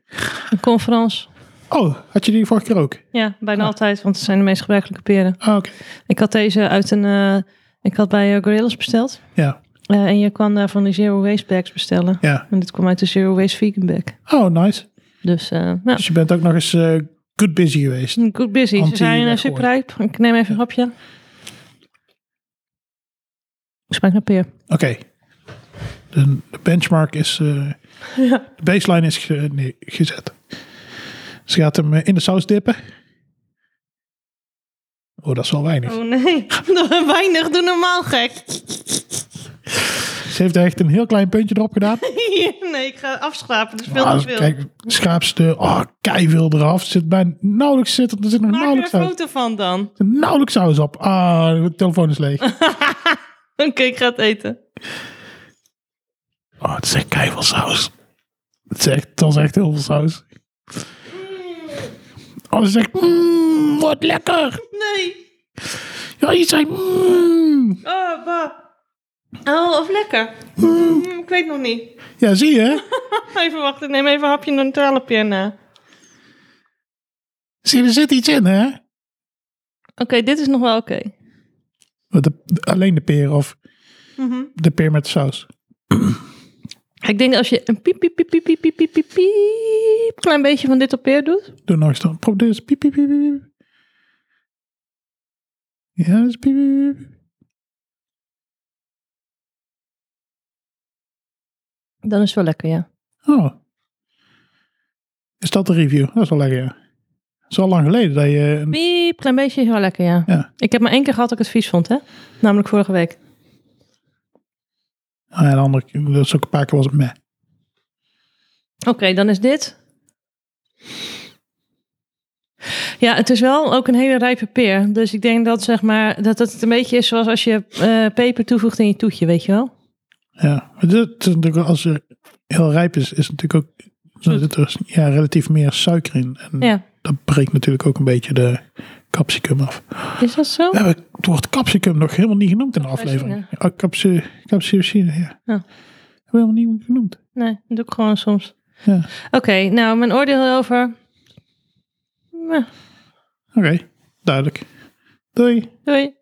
Een conference.
Oh, had je die vorige keer ook?
Ja, bijna altijd, want het zijn de meest gebruikelijke peren.
Ah, oké.
Ik had deze uit een. eh, ik had bij eh, Gorillas besteld.
Ja,
Eh, en je kan daar van die Zero Waste bags bestellen.
ja.
En dit kwam uit de Zero Waste Vegan bag.
Oh, nice.
Dus eh nou,
Dus je bent ook nog eens eh, good busy geweest.
good busy. Ze
Anti
zijn eh,
weggooien.
super rijp. Ik neem even een hapje. Smaakt naar peer.
Oké. De, de benchmark is... eh, De baseline is ge- nee, gezet. Ze gaat hem eh, in de saus dippen. Oh, dat is wel weinig.
Oh nee, weinig. Doe normaal gek.
Ze heeft er echt een heel klein puntje erop gedaan.
nee, ik ga afschrapen. Dus
Ah, kijk, schaapste. Oh, kei veel eraf. Zit bij nauwelijks zit, er zit nog nauwelijks saus.
van dan.
Er zit nauwelijks saus op. Ah, de telefoon is leeg.
Oké, ik ga het eten.
Oké, Oh, het is echt kei veel saus. Het is echt, dat is echt heel veel saus. Oh, ze zegt, mmm, wat lekker.
Nee.
Ja, je zei, mmm,
Oh, bah. Oh, of lekker. Mm, ik weet nog niet.
Ja, zie je?
Even wachten, neem even een hapje neutralepje na. Oké,
Zie je, er zit iets in, hè?
dit is nog wel oké.
Wat de- alleen de peer of de peer met saus.
Ik denk als je een piep, piep, piep, piep, piep, piep, piep, piep, piep, klein beetje van dit op peer doet.
Doe nog eens dan. Probeer eens. Piep, piep, piep, piep, piep. Ja, dat is piep, piep, piep.
Dan is het wel lekker, ja.
Oh. Is dat de review? Dat is wel lekker, ja. Het is al lang geleden dat je... een-
Piep, klein beetje is wel lekker, ja.
Ja.
Ik heb maar één keer gehad dat ik het vies vond, hè. Namelijk vorige week.
Ah, ja, de andere keer, dat is ook een paar keer was het meh.
Oké, dan is dit. Ja, het is wel ook een hele rijpe peer. Dus ik denk dat, zeg maar, dat het een beetje is zoals als je eh, peper toevoegt in je toetje, weet je wel?
Ja. Maar dit, is natuurlijk wel- als er heel rijp is, is het natuurlijk ook... Dan zit er ja, relatief meer suiker in. En
Ja,
dat breekt natuurlijk ook een beetje de capsicum af.
is dat zo?
We hebben het woord capsicum nog helemaal niet genoemd in de aflevering. Oh, capsi- Capsaicine, ja.
Ja.
Hebben we helemaal niet genoemd.
Nee, dat doe ik gewoon soms.
Ja.
Oké, nou, mijn oordeel over.
Oké, duidelijk. Doei.
Doei.